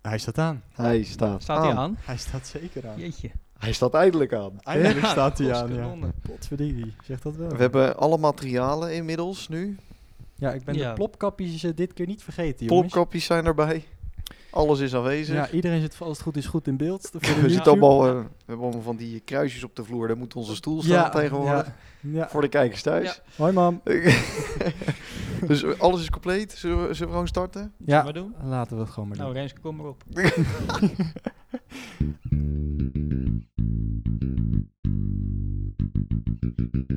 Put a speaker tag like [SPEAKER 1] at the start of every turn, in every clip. [SPEAKER 1] Hij staat aan.
[SPEAKER 2] Hij staat
[SPEAKER 3] Staat hij aan?
[SPEAKER 1] Hij staat zeker aan.
[SPEAKER 3] Jeetje.
[SPEAKER 2] Hij staat eindelijk aan.
[SPEAKER 1] Eindelijk
[SPEAKER 3] Ja,
[SPEAKER 1] staat hij
[SPEAKER 3] dat
[SPEAKER 1] aan,
[SPEAKER 3] was
[SPEAKER 1] ja.
[SPEAKER 3] kanonnen.
[SPEAKER 1] Potverdikkie, zeg dat wel.
[SPEAKER 2] We hebben alle materialen inmiddels nu.
[SPEAKER 1] Ja, ik ben
[SPEAKER 3] Ja.
[SPEAKER 1] de plopkapjes eh, dit keer niet vergeten, jongens.
[SPEAKER 2] Plopkapjes zijn erbij. Alles is aanwezig.
[SPEAKER 1] Ja, iedereen zit als het goed is goed in beeld. Voor de
[SPEAKER 2] we,
[SPEAKER 1] YouTube.
[SPEAKER 2] zitten allemaal, eh, we hebben allemaal van die kruisjes op de vloer. Daar moet onze stoel staan tegenwoordig.
[SPEAKER 1] Ja, ja.
[SPEAKER 2] Voor de kijkers thuis.
[SPEAKER 1] Hoi mam.
[SPEAKER 2] dus eh, alles is compleet. Zullen we, zullen we gewoon starten?
[SPEAKER 1] Ja,
[SPEAKER 3] maar doen?
[SPEAKER 1] laten we het gewoon maar doen.
[SPEAKER 3] Nou, Renske, kom maar op.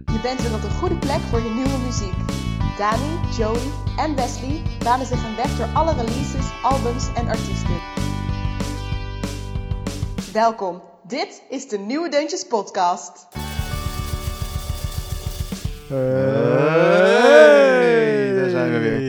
[SPEAKER 4] Je bent weer op de goede plek voor je nieuwe muziek. Dani, Joey en Wesley banen zich een weg door alle releases, albums en artiesten. Welkom, dit is de Nieuwe Deuntjes Podcast.
[SPEAKER 1] Eh,
[SPEAKER 2] Hey, daar zijn we weer.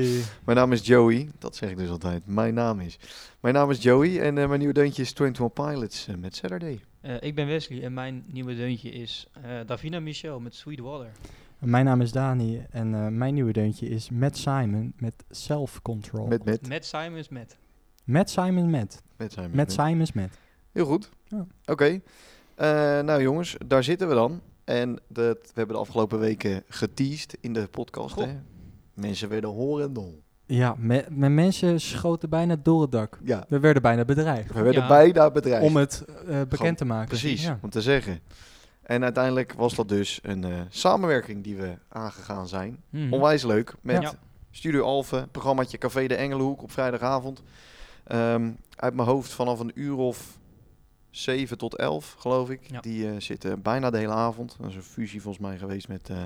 [SPEAKER 2] Mijn naam is Joey. Dat zeg ik dus altijd. Mijn naam is. Mijn naam is Joey en eh, mijn nieuwe deuntje is 21 Pilots eh, met Saturday.
[SPEAKER 3] Eh, ik ben Wesley en mijn nieuwe deuntje is eh, Davina Michel met Sweetwater.
[SPEAKER 1] Mijn naam is Dani en eh, mijn nieuwe deuntje is Matt Simon met Self Control.
[SPEAKER 2] Met, met,
[SPEAKER 3] Met Simons met.
[SPEAKER 1] Matt Simon met.
[SPEAKER 2] met zijn.
[SPEAKER 1] Matt Simon's met.
[SPEAKER 2] Heel goed.
[SPEAKER 1] Ja.
[SPEAKER 2] Oké. Eh, nou jongens, daar zitten we dan. En dat, we hebben de afgelopen weken geteased in de podcast.
[SPEAKER 3] Goh.
[SPEAKER 2] Hè? Mensen werden horendol.
[SPEAKER 1] Ja, me- mijn mensen schoten bijna door het dak.
[SPEAKER 2] Ja,
[SPEAKER 1] We werden bijna bedreigd.
[SPEAKER 2] we werden
[SPEAKER 3] Ja.
[SPEAKER 2] bijna bedreigd.
[SPEAKER 1] Om het eh,
[SPEAKER 2] Gewoon
[SPEAKER 1] bekend te maken.
[SPEAKER 2] Precies,
[SPEAKER 1] Ja.
[SPEAKER 2] om te zeggen. En uiteindelijk was dat dus een eh, samenwerking die we aangegaan zijn.
[SPEAKER 3] Mhm.
[SPEAKER 2] Onwijs leuk. Met
[SPEAKER 3] Ja.
[SPEAKER 2] Studio Alphen, programmaatje Café de Engelenhoek op vrijdagavond. Ehm, uit mijn hoofd vanaf een uur of 7 tot 11, geloof ik.
[SPEAKER 3] Ja.
[SPEAKER 2] Die eh, zitten bijna de hele avond. Dat is een fusie volgens mij geweest met eh,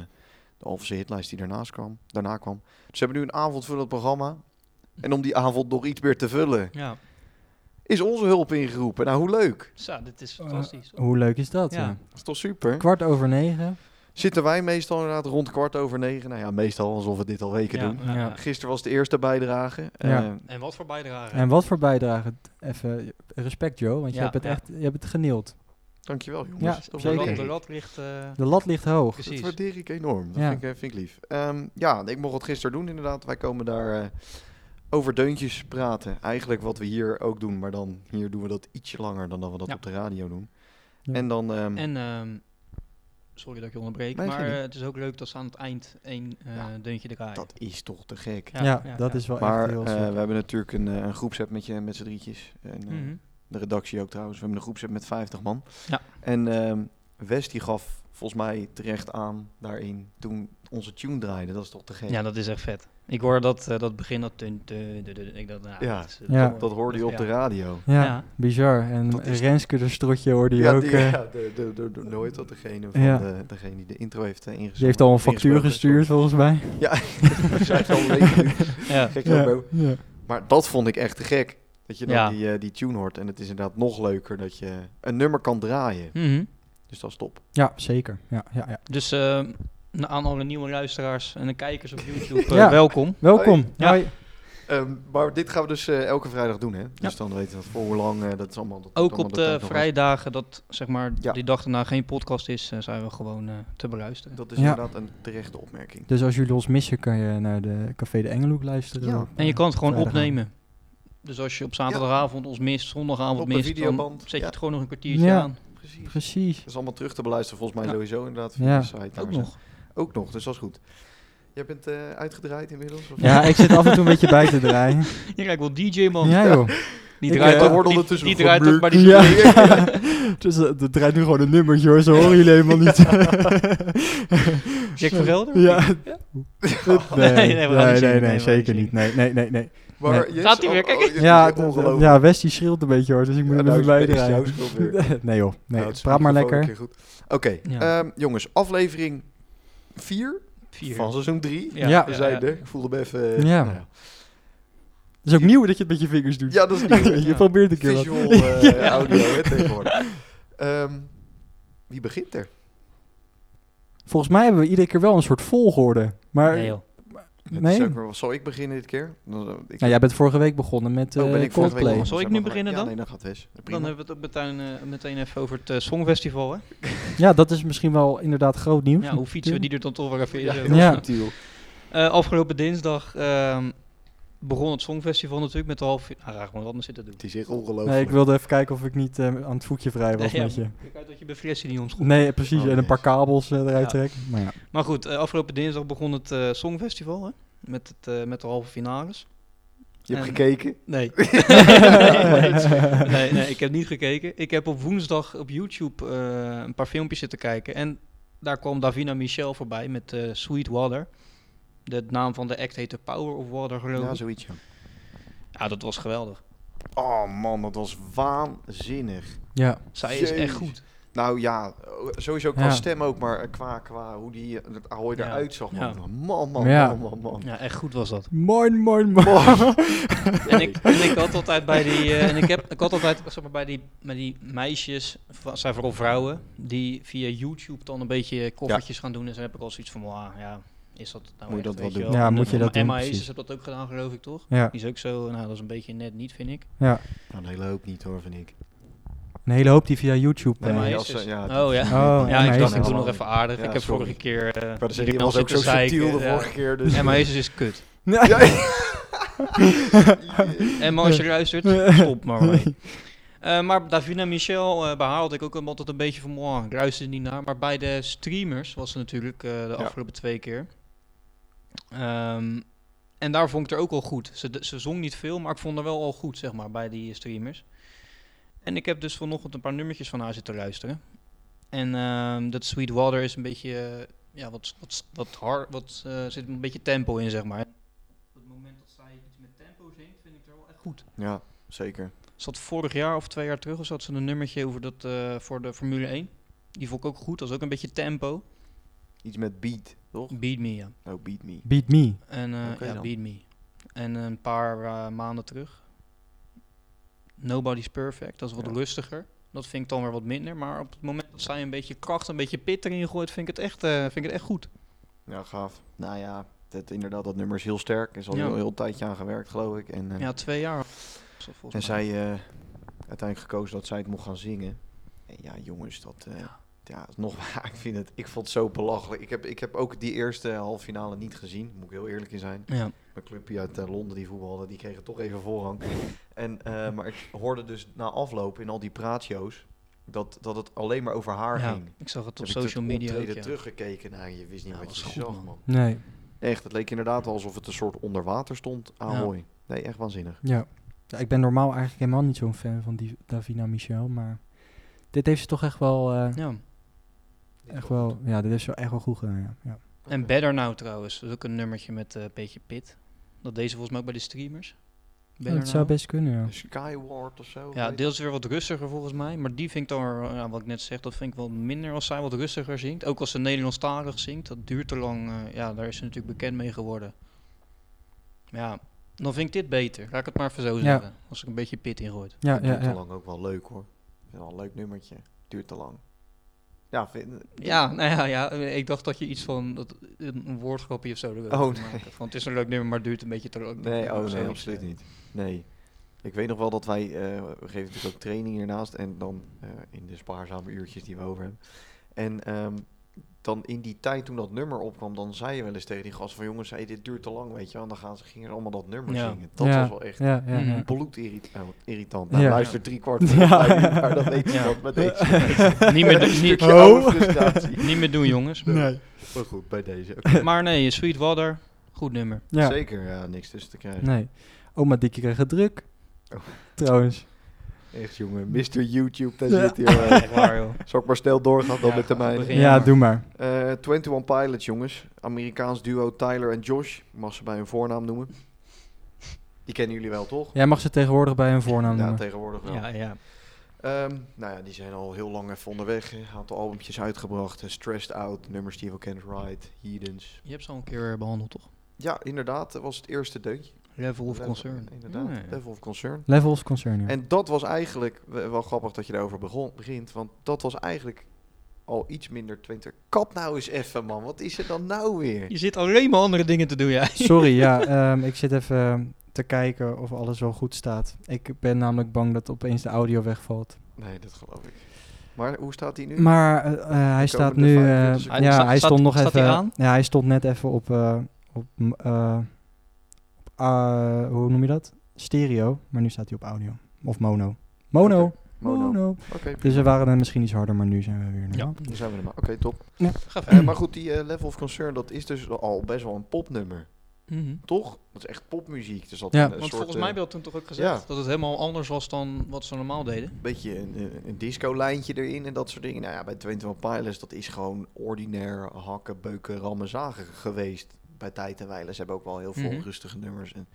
[SPEAKER 2] de Alphense hitlijst die daarnaast kwam, daarna kwam. Dus ze hebben nu een avondvullend programma. En om die avond nog iets meer te vullen,
[SPEAKER 3] Ja,
[SPEAKER 2] is onze hulp ingeroepen. Nou, hoe leuk.
[SPEAKER 3] zo, dit is fantastisch.
[SPEAKER 1] Eh, Hoe leuk is dat?
[SPEAKER 3] Ja.
[SPEAKER 1] ja?
[SPEAKER 2] Dat is toch super?
[SPEAKER 1] Kwart over negen.
[SPEAKER 2] Zitten wij meestal inderdaad rond kwart over negen. Nou ja, meestal alsof we dit al weken
[SPEAKER 3] Ja,
[SPEAKER 2] doen.
[SPEAKER 3] ja,
[SPEAKER 1] Ja.
[SPEAKER 3] ja.
[SPEAKER 2] Gisteren was de eerste bijdrage.
[SPEAKER 1] Ja.
[SPEAKER 2] Eh,
[SPEAKER 3] En wat voor bijdrage.
[SPEAKER 1] En wat voor bijdrage. Even respect Joe, want je
[SPEAKER 3] Ja,
[SPEAKER 1] hebt het
[SPEAKER 3] ja.
[SPEAKER 1] echt je hebt het geneeld.
[SPEAKER 2] dankjewel, jongens.
[SPEAKER 1] Ja,
[SPEAKER 2] Dat
[SPEAKER 3] de,
[SPEAKER 1] zeker.
[SPEAKER 3] lat,
[SPEAKER 2] waardeer
[SPEAKER 3] de
[SPEAKER 2] ik.
[SPEAKER 3] lat ligt... eh,
[SPEAKER 1] De lat ligt hoog.
[SPEAKER 2] Dat
[SPEAKER 3] precies.
[SPEAKER 2] waardeer ik enorm. Dat
[SPEAKER 1] Ja.
[SPEAKER 2] vind, ik, eh, vind ik lief. Ehm, ja, ik mocht het gisteren doen inderdaad. Wij komen daar eh, over deuntjes praten. Eigenlijk wat we hier ook doen. Maar dan hier doen we dat ietsje langer dan dat we dat
[SPEAKER 3] Ja.
[SPEAKER 2] op de radio doen.
[SPEAKER 1] Ja.
[SPEAKER 2] En dan... ehm,
[SPEAKER 3] En, ehm, sorry dat ik je onderbreek,
[SPEAKER 2] Nee,
[SPEAKER 3] maar
[SPEAKER 2] geen
[SPEAKER 3] eh,
[SPEAKER 2] idee.
[SPEAKER 3] het is ook leuk dat ze aan het eind één eh
[SPEAKER 2] Ja,
[SPEAKER 3] deuntje draaien.
[SPEAKER 2] dat is toch te gek.
[SPEAKER 1] Ja, dat is wel
[SPEAKER 2] maar
[SPEAKER 1] echt heel
[SPEAKER 2] eh,
[SPEAKER 1] sick.
[SPEAKER 2] we hebben natuurlijk een, eh, een groepsapp met, je, met z'n drietjes. En, eh,
[SPEAKER 3] Mhm.
[SPEAKER 2] De redactie ook trouwens. We hebben een groepset met 50 man.
[SPEAKER 3] Ja.
[SPEAKER 2] En ehm Wes die gaf volgens mij terecht aan daarin toen onze tune draaide. Dat is toch te gek?
[SPEAKER 3] Ja, dat is echt vet. Ik hoor dat, eh, dat begin, dat... Dun, dun, dun, dun, ik dacht, nou,
[SPEAKER 2] Ja,
[SPEAKER 3] dat, is-
[SPEAKER 1] Ja.
[SPEAKER 3] hoor-
[SPEAKER 2] Dat hoorde je op
[SPEAKER 3] ja.
[SPEAKER 2] de radio.
[SPEAKER 1] Ja,
[SPEAKER 3] Ja.
[SPEAKER 1] bizar. En
[SPEAKER 2] Dat is-
[SPEAKER 1] Renske de strotje hoorde je ook.
[SPEAKER 2] die,
[SPEAKER 1] eh,
[SPEAKER 2] ja, de, de, de, de- nooit dat degene, van
[SPEAKER 1] Ja.
[SPEAKER 2] de, degene die de intro heeft eh, ingezonden.
[SPEAKER 1] die heeft al een factuur
[SPEAKER 2] ingesproken,
[SPEAKER 1] gestuurd volgens mij.
[SPEAKER 2] sorry. Ja, dat zei ik al een beetje nu.
[SPEAKER 3] Ja.
[SPEAKER 2] Gek zo,
[SPEAKER 1] Ja,
[SPEAKER 2] bro.
[SPEAKER 1] ja.
[SPEAKER 2] Maar dat vond ik echt te gek. Dat je dan
[SPEAKER 3] Ja.
[SPEAKER 2] die, eh, die tune hoort. En het is inderdaad nog leuker dat je een nummer kan draaien.
[SPEAKER 3] Mhm.
[SPEAKER 2] Dus dat is top.
[SPEAKER 1] Ja, zeker. Ja, ja, ja.
[SPEAKER 3] Dus ehm, na- aan alle nieuwe luisteraars en de kijkers op YouTube, eh,
[SPEAKER 1] Ja.
[SPEAKER 3] welkom.
[SPEAKER 1] Welkom.
[SPEAKER 3] Ja.
[SPEAKER 1] Hoi.
[SPEAKER 2] Ehm, maar dit gaan we dus eh, elke vrijdag doen, hè? Dus dan weten we voor hoe lang. eh, dat is allemaal. Dat
[SPEAKER 3] Ook
[SPEAKER 2] allemaal
[SPEAKER 3] op
[SPEAKER 2] tijd
[SPEAKER 3] de
[SPEAKER 2] nog is.
[SPEAKER 3] vrijdagen, dat zeg maar
[SPEAKER 2] Ja.
[SPEAKER 3] die dag daarna geen podcast is, eh, zijn we gewoon eh, te beluisteren.
[SPEAKER 2] Dat is
[SPEAKER 1] Ja.
[SPEAKER 2] inderdaad een terechte opmerking.
[SPEAKER 1] Dus als jullie ons missen, kan je naar de Café de Engelhoek luisteren.
[SPEAKER 2] Ja.
[SPEAKER 1] Op, eh,
[SPEAKER 3] En je kan het gewoon
[SPEAKER 1] vrijdagavond.
[SPEAKER 3] opnemen. Dus als je op zaterdagavond ons mist, zondagavond
[SPEAKER 2] Op een
[SPEAKER 3] mist, dan
[SPEAKER 2] videoband,
[SPEAKER 3] zet je
[SPEAKER 2] ja.
[SPEAKER 3] het gewoon nog een kwartiertje
[SPEAKER 1] Ja.
[SPEAKER 3] aan.
[SPEAKER 2] Precies. Dat
[SPEAKER 1] Precies.
[SPEAKER 2] is allemaal terug te beluisteren, volgens mij
[SPEAKER 3] Ja.
[SPEAKER 2] sowieso inderdaad. Dus, eh, Via
[SPEAKER 1] Ja.
[SPEAKER 2] de site. daar
[SPEAKER 3] Ook
[SPEAKER 2] zijn-
[SPEAKER 3] nog.
[SPEAKER 2] Ook nog, dus dat is goed. Jij bent eh, uitgedraaid inmiddels? Of
[SPEAKER 1] Ja, ik zit af en toe een beetje bij te draaien.
[SPEAKER 3] Je kijkt wel DJ man.
[SPEAKER 1] Ja joh.
[SPEAKER 3] Die
[SPEAKER 1] Ik,
[SPEAKER 3] draait
[SPEAKER 1] eh,
[SPEAKER 3] ook,
[SPEAKER 2] wordt
[SPEAKER 3] die,
[SPEAKER 2] ondertussen
[SPEAKER 3] die draait ook
[SPEAKER 2] vermurkt.
[SPEAKER 3] maar die
[SPEAKER 1] Ja. dus eh, er draait nu gewoon een nummertje hoor, ze horen jullie helemaal niet.
[SPEAKER 3] Jack van Gelder?
[SPEAKER 1] Ja. Nee,
[SPEAKER 3] Nee,
[SPEAKER 1] nee,
[SPEAKER 3] nee,
[SPEAKER 1] nee,
[SPEAKER 3] we gaan niet
[SPEAKER 1] nee,
[SPEAKER 3] zingen, nee, we gaan
[SPEAKER 1] zeker
[SPEAKER 3] niet
[SPEAKER 1] niet. Nee, nee, nee, nee.
[SPEAKER 2] Maar oh,
[SPEAKER 1] Nee.
[SPEAKER 2] je-
[SPEAKER 3] Gaat hij weer, kijk.
[SPEAKER 2] dit is
[SPEAKER 1] Ja,
[SPEAKER 2] echt ongelooflijk.
[SPEAKER 1] ja, Westie schreeuwt een beetje hoor, dus ik moet
[SPEAKER 2] Ja,
[SPEAKER 1] hem
[SPEAKER 2] nou,
[SPEAKER 1] even
[SPEAKER 2] dit is jouw
[SPEAKER 1] bijdragen.
[SPEAKER 2] schuld weer. Nou,
[SPEAKER 1] Nee joh, nee,
[SPEAKER 2] het is
[SPEAKER 1] praat maar
[SPEAKER 2] microfoon
[SPEAKER 1] lekker.
[SPEAKER 2] een keer goed. Oké,
[SPEAKER 3] Ja.
[SPEAKER 2] ehm, jongens, aflevering 4
[SPEAKER 3] Vier.
[SPEAKER 2] van seizoen 3.
[SPEAKER 1] Ja.
[SPEAKER 2] We zijn er. Ik voelde me even... eh,
[SPEAKER 1] Ja.
[SPEAKER 2] nou ja.
[SPEAKER 1] Het is ook nieuw dat je het met je vingers doet.
[SPEAKER 2] ja, dat is niet.
[SPEAKER 1] je probeert een keer wat.
[SPEAKER 2] Visual eh,
[SPEAKER 1] Ja.
[SPEAKER 2] audio hè, tegenwoordig. Ehm, wie begint er?
[SPEAKER 1] Volgens mij hebben we iedere keer wel een soort volgorde. Maar
[SPEAKER 3] Nee,
[SPEAKER 1] nee,
[SPEAKER 3] joh.
[SPEAKER 2] Het is ook wel- zal ik beginnen dit keer? Dan, eh, ik-
[SPEAKER 1] Nou, jij bent vorige week begonnen met eh
[SPEAKER 2] oh, ben ik vorige week
[SPEAKER 1] Coldplay.
[SPEAKER 2] begonnen,
[SPEAKER 3] Zal ik
[SPEAKER 2] zeg
[SPEAKER 3] nu
[SPEAKER 2] maar.
[SPEAKER 3] beginnen
[SPEAKER 2] Ja,
[SPEAKER 3] dan?
[SPEAKER 2] nee, dan gaat Wes. Prima.
[SPEAKER 3] Dan hebben we het ook meteen, eh, meteen even over het eh, Songfestival. Hè?
[SPEAKER 1] Ja, dat is misschien wel inderdaad groot nieuws.
[SPEAKER 3] Ja,
[SPEAKER 2] eh,
[SPEAKER 3] hoe fietsen we die er dan toch weer even in?
[SPEAKER 2] ja,
[SPEAKER 3] zo?
[SPEAKER 2] heel
[SPEAKER 1] Ja.
[SPEAKER 2] subtiel.
[SPEAKER 3] Eh, afgelopen dinsdag ehm, begon het Songfestival natuurlijk met de halve... Nou, ga gewoon wat anders zitten doen.
[SPEAKER 2] Het is echt ongelooflijk.
[SPEAKER 1] Nee, ik wilde even kijken of ik niet eh, aan het voetje vrij was
[SPEAKER 3] Nee, ja,
[SPEAKER 1] met je.
[SPEAKER 3] Kijk uit dat je bij Fressie niet omschopt.
[SPEAKER 1] Nee, precies.
[SPEAKER 2] Oh,
[SPEAKER 1] en een paar
[SPEAKER 2] jezus.
[SPEAKER 1] kabels eh, eruit
[SPEAKER 3] Ja.
[SPEAKER 1] trekken. Maar ja.
[SPEAKER 3] Maar goed, eh, afgelopen dinsdag begon het eh, Songfestival hè? Met, het, eh, met de halve finales.
[SPEAKER 2] Je hebt
[SPEAKER 3] En-
[SPEAKER 2] gekeken.
[SPEAKER 3] Nee. nee, nee, nee, ik heb niet gekeken. Ik heb op woensdag op YouTube eh, een paar filmpjes zitten kijken. En daar kwam Davina Michel voorbij met eh, Sweet Water. De naam van de act heette Power of Water, geloof ik.
[SPEAKER 2] Ja,
[SPEAKER 3] Ja,
[SPEAKER 2] zoiets. ja.
[SPEAKER 3] dat was geweldig.
[SPEAKER 2] Oh man, dat was waanzinnig.
[SPEAKER 1] ja.
[SPEAKER 3] Zij is
[SPEAKER 2] Jezus.
[SPEAKER 3] echt goed.
[SPEAKER 2] Nou ja, sowieso qua
[SPEAKER 1] Ja.
[SPEAKER 2] stem ook, maar qua, qua hoe die eh, dat Ahoy
[SPEAKER 3] Ja.
[SPEAKER 2] eruit zag. Man,
[SPEAKER 3] Ja.
[SPEAKER 2] man, man,
[SPEAKER 1] Ja.
[SPEAKER 2] man, man, man.
[SPEAKER 3] Ja, echt goed was dat.
[SPEAKER 1] Moin, moin, moin.
[SPEAKER 2] Nou,
[SPEAKER 3] En ik, en ik had altijd bij die, eh, en ik heb, ik had altijd, zeg maar, bij die, bij die meisjes, va- zijn vooral vrouwen, die via YouTube dan een beetje koffertjes gaan doen. En dan heb ik al zoiets van, ah, ja, is dat
[SPEAKER 2] Moet
[SPEAKER 3] nou
[SPEAKER 2] je
[SPEAKER 3] echt,
[SPEAKER 2] dat wel
[SPEAKER 3] weet
[SPEAKER 2] doen?
[SPEAKER 3] wel.
[SPEAKER 1] Ja,
[SPEAKER 3] En
[SPEAKER 1] moet
[SPEAKER 3] de-
[SPEAKER 1] je dat doen,
[SPEAKER 3] Emma
[SPEAKER 1] precies.
[SPEAKER 3] Heesters heeft dat ook gedaan, geloof ik, toch?
[SPEAKER 1] Ja,
[SPEAKER 3] Die is ook zo, nou, dat is een beetje net niet, vind ik.
[SPEAKER 1] ja.
[SPEAKER 2] Nou, een hele hoop niet hoor, vind ik.
[SPEAKER 1] Een hele hoop die via YouTube...
[SPEAKER 2] Nee,
[SPEAKER 1] eh,
[SPEAKER 3] Emma
[SPEAKER 2] maar-
[SPEAKER 3] Heesters.
[SPEAKER 2] als ze- ja,
[SPEAKER 3] oh, ja.
[SPEAKER 1] Oh, Emma
[SPEAKER 3] ja, ik dacht, ik
[SPEAKER 1] Heesters.
[SPEAKER 3] doe nog even aardig.
[SPEAKER 2] Ja,
[SPEAKER 3] ik heb
[SPEAKER 2] sorry.
[SPEAKER 3] vorige keer... eh
[SPEAKER 2] Maar dat
[SPEAKER 3] iedereen
[SPEAKER 2] was
[SPEAKER 3] zat
[SPEAKER 2] ook
[SPEAKER 3] te
[SPEAKER 2] zo
[SPEAKER 3] zeiken,
[SPEAKER 2] subtiel de
[SPEAKER 3] ja.
[SPEAKER 2] vorige keer. Dus
[SPEAKER 3] Emma Heesters is kut.
[SPEAKER 1] Ja.
[SPEAKER 3] Emma, als je luistert, stop maar mee. Eh, maar Davina Michel eh, behaalde ik ook altijd een beetje van, wow, ik luisterde niet naar. Maar bij de streamers was ze natuurlijk eh, de afgelopen twee keer. Ehm, en daar vond ik het ook al goed. Ze, ze zong niet veel, maar ik vond haar wel al goed, zeg maar, bij die streamers. En ik heb dus vanochtend een paar nummertjes van haar zitten luisteren. En ehm, dat Sweet Water is een beetje, eh, ja, wat, wat, wat hard, wat eh, zit een beetje tempo in, zeg maar. Op het moment dat zij iets met tempo zingt, vind ik haar wel echt goed.
[SPEAKER 2] Ja, zeker.
[SPEAKER 3] Zat vorig jaar of twee jaar terug, of zat ze een nummertje over dat, eh, voor de Formule 1. Die vond ik ook goed, dat was ook een beetje tempo.
[SPEAKER 2] Iets met beat, toch?
[SPEAKER 3] Beat Me, ja.
[SPEAKER 2] Oh, beat me.
[SPEAKER 1] Beat me.
[SPEAKER 3] En, eh,
[SPEAKER 2] Oké
[SPEAKER 3] ja,
[SPEAKER 2] dan.
[SPEAKER 3] Beat Me. En een paar eh, maanden terug. Nobody's Perfect, dat is wat
[SPEAKER 2] Ja.
[SPEAKER 3] rustiger. Dat vind ik dan weer wat minder. Maar op het moment dat zij een beetje kracht, een beetje pit erin gooit, vind ik het echt, eh, vind ik het echt goed.
[SPEAKER 2] Ja, gaaf. Nou ja, dat, inderdaad, dat nummer is heel sterk. Is al
[SPEAKER 3] Ja.
[SPEAKER 2] heel, heel tijdje aan gewerkt, geloof ik. En, eh,
[SPEAKER 3] Ja, twee jaar. Volgens
[SPEAKER 2] en
[SPEAKER 3] mij.
[SPEAKER 2] zij eh, uiteindelijk gekozen dat zij het mocht gaan zingen. En ja, jongens, dat... eh, ja. nog ik vind het, ik vond het zo belachelijk. Ik heb, ik heb ook die eerste halve finale niet gezien, moet ik heel eerlijk in zijn.
[SPEAKER 3] Ja.
[SPEAKER 2] Mijn clubje uit eh, Londen die voetbalde, die kregen toch even voorrang. En, eh, maar ik hoorde dus na afloop in al die praatjo's dat, dat het alleen maar over haar
[SPEAKER 3] Ja,
[SPEAKER 2] ging.
[SPEAKER 3] ik zag het op
[SPEAKER 2] Heb ik
[SPEAKER 3] social
[SPEAKER 2] het
[SPEAKER 3] media ook,
[SPEAKER 2] optreden
[SPEAKER 3] ja.
[SPEAKER 2] teruggekeken. Nou, je wist niet
[SPEAKER 3] Ja,
[SPEAKER 2] wat
[SPEAKER 3] was
[SPEAKER 2] je
[SPEAKER 3] goed,
[SPEAKER 2] zag,
[SPEAKER 3] man.
[SPEAKER 2] man.
[SPEAKER 1] Nee.
[SPEAKER 2] Echt, het leek inderdaad alsof het een soort onder water stond. Ahoy. Nee, echt waanzinnig.
[SPEAKER 1] Ja. ja. Ik ben normaal eigenlijk helemaal niet zo'n fan van die Davina Michel, maar... Dit heeft ze toch echt wel... eh,
[SPEAKER 3] Ja.
[SPEAKER 1] echt wel ja, dit heeft ze echt wel goed gedaan, ja. ja.
[SPEAKER 3] En Better Now trouwens, dat is ook een nummertje met eh, een beetje pit. Dat deze volgens mij ook bij de streamers. Better
[SPEAKER 1] dat Oh, zou
[SPEAKER 3] Now.
[SPEAKER 1] best kunnen,
[SPEAKER 3] Dus
[SPEAKER 1] ja.
[SPEAKER 2] Skyward of zo.
[SPEAKER 3] Ja,
[SPEAKER 2] weet
[SPEAKER 3] deels weer wat rustiger volgens mij. Maar die vind ik dan, weer, ja, wat ik net zeg, dat vind ik wel minder als zij wat rustiger zingt. Ook als ze Nederlandstalig zingt, dat duurt te lang. eh, ja, daar is ze natuurlijk bekend mee geworden. Maar ja, dan vind ik dit beter. Laat ik het maar even zo zeggen. Als ik een beetje pit ingooi.
[SPEAKER 1] Ja,
[SPEAKER 2] ik.
[SPEAKER 1] ja,
[SPEAKER 2] Duurt te
[SPEAKER 1] ja.
[SPEAKER 2] lang ook wel leuk hoor. Ik vind wel een leuk nummertje. Duurt te lang. Ja, vind...
[SPEAKER 3] Ja, nou ja, ja, ik dacht dat je iets van dat, een woordgrapje of zo. er ook
[SPEAKER 2] Oh,
[SPEAKER 3] van
[SPEAKER 2] nee.
[SPEAKER 3] maakte. Van, het is een leuk nummer, maar het duurt een beetje te lang.
[SPEAKER 2] Nee, oh
[SPEAKER 3] Zoiets,
[SPEAKER 2] nee,
[SPEAKER 3] eh.
[SPEAKER 2] absoluut niet. Nee. Ik weet nog wel dat wij, eh, we geven natuurlijk ook training hiernaast en dan eh, in de spaarzame uurtjes die we over hebben. En ehm, dan in die tijd toen dat nummer opkwam, dan zei je wel eens tegen die gasten van jongens, hey, dit duurt te lang, weet je wel. En dan gaan ze, gingen ze allemaal dat nummer
[SPEAKER 3] Ja.
[SPEAKER 2] zingen. Dat
[SPEAKER 1] ja.
[SPEAKER 2] was wel echt
[SPEAKER 1] Ja, ja, ja.
[SPEAKER 3] Mhm.
[SPEAKER 2] bloedirritant. irritant. Nou,
[SPEAKER 1] Ja.
[SPEAKER 2] luister drie kwart van
[SPEAKER 1] Ja.
[SPEAKER 2] ja. maar dat weet je
[SPEAKER 3] Ja.
[SPEAKER 2] dat met deze.
[SPEAKER 3] Niet meer, doen- niet,
[SPEAKER 2] Stukje
[SPEAKER 1] Oh.
[SPEAKER 2] oude frustratie.
[SPEAKER 3] niet meer doen, jongens.
[SPEAKER 2] Maar goed, bij deze.
[SPEAKER 3] Maar nee, Sweetwater, goed nummer.
[SPEAKER 1] Ja.
[SPEAKER 2] Zeker, ja, niks tussen te krijgen.
[SPEAKER 1] Nee. Oma Dikkie kreeg het druk.
[SPEAKER 2] Oh.
[SPEAKER 1] Trouwens.
[SPEAKER 2] Echt jongen, Mr. YouTube, daar
[SPEAKER 1] Ja.
[SPEAKER 2] zit hier. eh.
[SPEAKER 3] Echt waar, joh.
[SPEAKER 2] Zal ik maar snel doorgaan dan
[SPEAKER 3] Ja,
[SPEAKER 2] met de mijne?
[SPEAKER 3] begin.
[SPEAKER 1] Ja,
[SPEAKER 3] Ja, maar-
[SPEAKER 1] doe maar.
[SPEAKER 2] Eh 21 Pilots, jongens. Amerikaans duo Tyler en Josh. Ik mag ze bij hun voornaam noemen. Die kennen jullie wel, toch?
[SPEAKER 1] Jij mag ze tegenwoordig bij hun voornaam
[SPEAKER 2] Ja,
[SPEAKER 1] noemen.
[SPEAKER 2] tegenwoordig wel.
[SPEAKER 3] Ja, ja.
[SPEAKER 2] Ehm, nou ja, die zijn al heel lang even onderweg. hè. Een aantal albumpjes uitgebracht. Eh, Stressed Out, nummers die we kennen. Ride, Heathens.
[SPEAKER 3] Je hebt ze al een keer eh, behandeld, toch?
[SPEAKER 2] Ja, inderdaad. Dat was het eerste deuntje.
[SPEAKER 3] Level of
[SPEAKER 2] Level-
[SPEAKER 3] Concern.
[SPEAKER 2] Inderdaad,
[SPEAKER 3] Ja, ja.
[SPEAKER 2] Level of Concern.
[SPEAKER 1] Levels concern, ja.
[SPEAKER 2] En dat was eigenlijk, we- wel grappig dat je daarover begon, begint, want dat was eigenlijk al iets minder 20. Kat nou eens even, man. Wat is er dan nou weer?
[SPEAKER 3] Je zit alleen maar andere dingen te doen, jij.
[SPEAKER 1] Sorry, ja. ehm, ik zit even te kijken of alles wel goed staat. Ik ben namelijk bang dat opeens de audio wegvalt.
[SPEAKER 2] Nee, dat geloof ik. Maar hoe staat die nu?
[SPEAKER 1] Maar eh, eh, hij staat
[SPEAKER 2] komende
[SPEAKER 1] nu...
[SPEAKER 2] vijf,
[SPEAKER 1] eh,
[SPEAKER 2] twintig seconden.
[SPEAKER 1] ja,
[SPEAKER 3] Staat-
[SPEAKER 1] hij
[SPEAKER 3] staat-
[SPEAKER 1] stond nog
[SPEAKER 3] staat hij
[SPEAKER 1] even...
[SPEAKER 3] aan?
[SPEAKER 1] Ja, hij stond net even op... eh, op, m- eh, op eh, hoe noem je dat? Stereo, maar nu staat hij op audio. Of mono. Mono.
[SPEAKER 2] Oké, mono.
[SPEAKER 1] mono.
[SPEAKER 2] Oké,
[SPEAKER 1] Dus we waren dan misschien iets harder, maar nu zijn we weer normaal.
[SPEAKER 2] dan zijn we er maar. Oké, top.
[SPEAKER 3] Ga verder.
[SPEAKER 2] Eh, maar goed, die eh, Level of Concern, dat is dus al best wel een popnummer,
[SPEAKER 3] Mhm.
[SPEAKER 2] toch? Dat is echt popmuziek. Dus dat
[SPEAKER 1] Ja.
[SPEAKER 2] een, eh,
[SPEAKER 3] Want
[SPEAKER 2] soort,
[SPEAKER 3] volgens mij
[SPEAKER 2] eh,
[SPEAKER 3] werd toen toch ook gezegd dat het helemaal anders was dan wat ze normaal deden.
[SPEAKER 2] beetje een, eh, een disco-lijntje erin en dat soort dingen. Nou ja, bij 21 Pilots, dat is gewoon ordinair hakken, beuken, rammen, zagen geweest. Bij Tijd en Weilen. Ze hebben ook wel heel veel
[SPEAKER 3] Mhm.
[SPEAKER 2] rustige nummers. En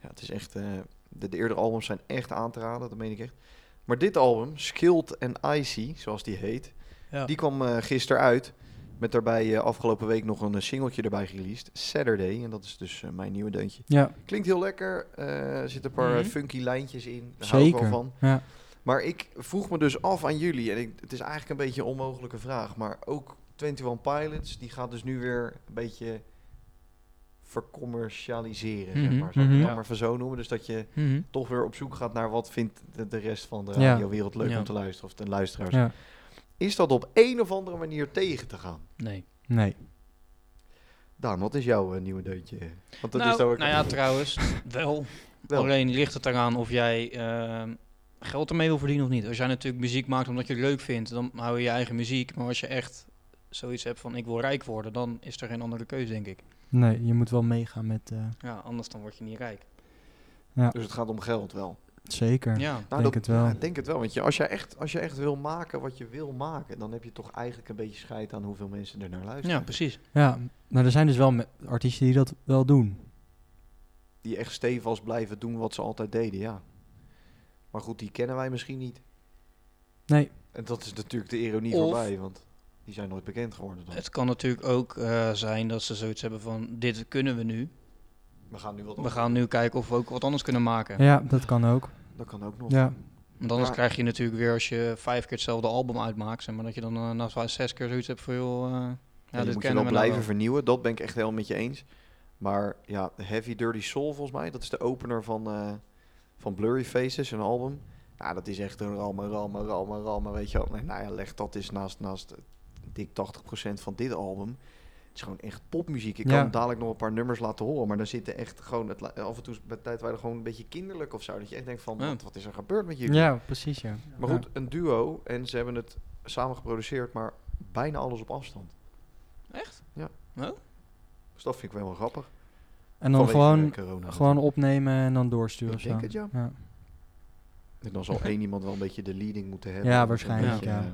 [SPEAKER 2] ja, het is echt... eh, de, de eerdere albums zijn echt aan te raden, dat meen ik echt. Maar dit album, Skilled and Icy, zoals die heet...
[SPEAKER 3] Ja.
[SPEAKER 2] Die kwam eh gisteren uit. Met daarbij eh, afgelopen week nog een eh, singeltje erbij released. Saturday. En dat is dus eh, mijn nieuwe deuntje.
[SPEAKER 1] Ja,
[SPEAKER 2] Klinkt heel lekker. eh, Er zitten een paar eh,
[SPEAKER 3] Mhm.
[SPEAKER 2] funky lijntjes in. Daar hou ik wel
[SPEAKER 1] zeker.
[SPEAKER 2] van.
[SPEAKER 1] Ja.
[SPEAKER 2] Maar ik vroeg me dus af aan jullie, en ik, het is eigenlijk een beetje een onmogelijke vraag, maar ook 21 Pilots, die gaat dus nu weer een beetje vercommercialiseren, zeg
[SPEAKER 3] Mhm,
[SPEAKER 2] maar. Zou ik het
[SPEAKER 1] mhm.
[SPEAKER 2] dan maar van zo noemen? Dus dat je
[SPEAKER 3] Mhm.
[SPEAKER 2] toch weer op zoek gaat naar wat vindt de, de rest van de
[SPEAKER 1] Ja.
[SPEAKER 2] radiowereld leuk
[SPEAKER 3] Ja.
[SPEAKER 2] om te luisteren, of de luisteraars.
[SPEAKER 1] ja.
[SPEAKER 2] Is dat op een of andere manier tegen te gaan?
[SPEAKER 3] Nee.
[SPEAKER 1] Nee.
[SPEAKER 2] Daan, wat is jouw eh, nieuwe deuntje? Want dat
[SPEAKER 3] nou,
[SPEAKER 2] is dan ook
[SPEAKER 3] nou ja, trouwens, wel.
[SPEAKER 2] Wel.
[SPEAKER 3] Alleen ligt het eraan of jij ehm, geld ermee wil verdienen of niet. Als jij natuurlijk muziek maakt omdat je het leuk vindt, dan hou je je eigen muziek. Maar als je echt zoiets hebt van ik wil rijk worden, dan is er geen andere keuze, denk ik.
[SPEAKER 1] Nee, je moet wel meegaan met... eh,
[SPEAKER 3] Ja, anders dan word je niet rijk.
[SPEAKER 2] dus het gaat om geld wel.
[SPEAKER 1] zeker.
[SPEAKER 3] Ja.
[SPEAKER 2] Nou,
[SPEAKER 1] Denk
[SPEAKER 2] dat-
[SPEAKER 1] het wel.
[SPEAKER 2] ja, ik denk het wel. Want je, als, jij echt, als je echt wil maken wat je wil maken, dan heb je toch eigenlijk een beetje scheid aan hoeveel mensen er naar luisteren.
[SPEAKER 3] Ja, precies.
[SPEAKER 1] Ja, maar er zijn dus wel me- artiesten die dat wel doen.
[SPEAKER 2] Die echt stevast blijven doen wat ze altijd deden, ja. Maar goed, die kennen wij misschien niet.
[SPEAKER 1] Nee.
[SPEAKER 2] En dat is natuurlijk de ironie
[SPEAKER 3] Of-
[SPEAKER 2] voorbij, want die zijn nooit bekend geworden dan.
[SPEAKER 3] Het kan natuurlijk ook eh, zijn dat ze zoiets hebben van dit kunnen we nu.
[SPEAKER 2] We gaan nu wat
[SPEAKER 3] We
[SPEAKER 2] anders.
[SPEAKER 3] gaan nu kijken of we ook wat anders kunnen maken.
[SPEAKER 1] Ja, dat kan ook.
[SPEAKER 2] Dat kan ook nog.
[SPEAKER 1] Ja,
[SPEAKER 3] Want anders
[SPEAKER 2] Ja.
[SPEAKER 3] krijg je natuurlijk weer als je vijf keer hetzelfde album uitmaakt, zeg maar dat je dan eh, na vijf, zes keer zoiets hebt voor heel.
[SPEAKER 2] Ja,
[SPEAKER 3] ja,
[SPEAKER 2] die
[SPEAKER 3] dit
[SPEAKER 2] moet je wel
[SPEAKER 3] kennen we
[SPEAKER 2] blijven
[SPEAKER 3] nou wel.
[SPEAKER 2] vernieuwen. Dat ben ik echt helemaal met je eens. Maar ja, Heavy Dirty Soul volgens mij, dat is de opener van, eh, van Blurry Faces, een album. Ja, dat is echt een rammen, rammen, rammen, rammen, weet je wel. Nee, nou ja, leg dat eens naast, naast dik 80% van dit album. Het is gewoon echt popmuziek. Ik
[SPEAKER 1] Ja.
[SPEAKER 2] kan dadelijk nog een paar nummers laten horen, maar daar zitten echt gewoon... Het, la- af en toe bij tijd waren gewoon een beetje kinderlijk of zo. Dat je echt denkt van,
[SPEAKER 3] Ja.
[SPEAKER 2] wat, wat is er gebeurd met jullie?
[SPEAKER 1] ja precies ja.
[SPEAKER 2] Maar goed, een duo en ze hebben het samen geproduceerd, maar bijna alles op afstand.
[SPEAKER 3] Echt?
[SPEAKER 2] Ja.
[SPEAKER 3] Nou?
[SPEAKER 2] Dus dat vind ik wel heel grappig.
[SPEAKER 1] En dan
[SPEAKER 2] Vanwege, eh,
[SPEAKER 1] gewoon,
[SPEAKER 2] corona.
[SPEAKER 1] gewoon opnemen en dan doorsturen.
[SPEAKER 2] Ik
[SPEAKER 1] of
[SPEAKER 2] denk
[SPEAKER 1] zo.
[SPEAKER 2] het, ja.
[SPEAKER 1] ja.
[SPEAKER 2] En dan zal één iemand wel een beetje de leading moeten hebben.
[SPEAKER 1] Ja,
[SPEAKER 2] Een
[SPEAKER 1] waarschijnlijk,
[SPEAKER 2] beetje,
[SPEAKER 1] ja.
[SPEAKER 2] eh,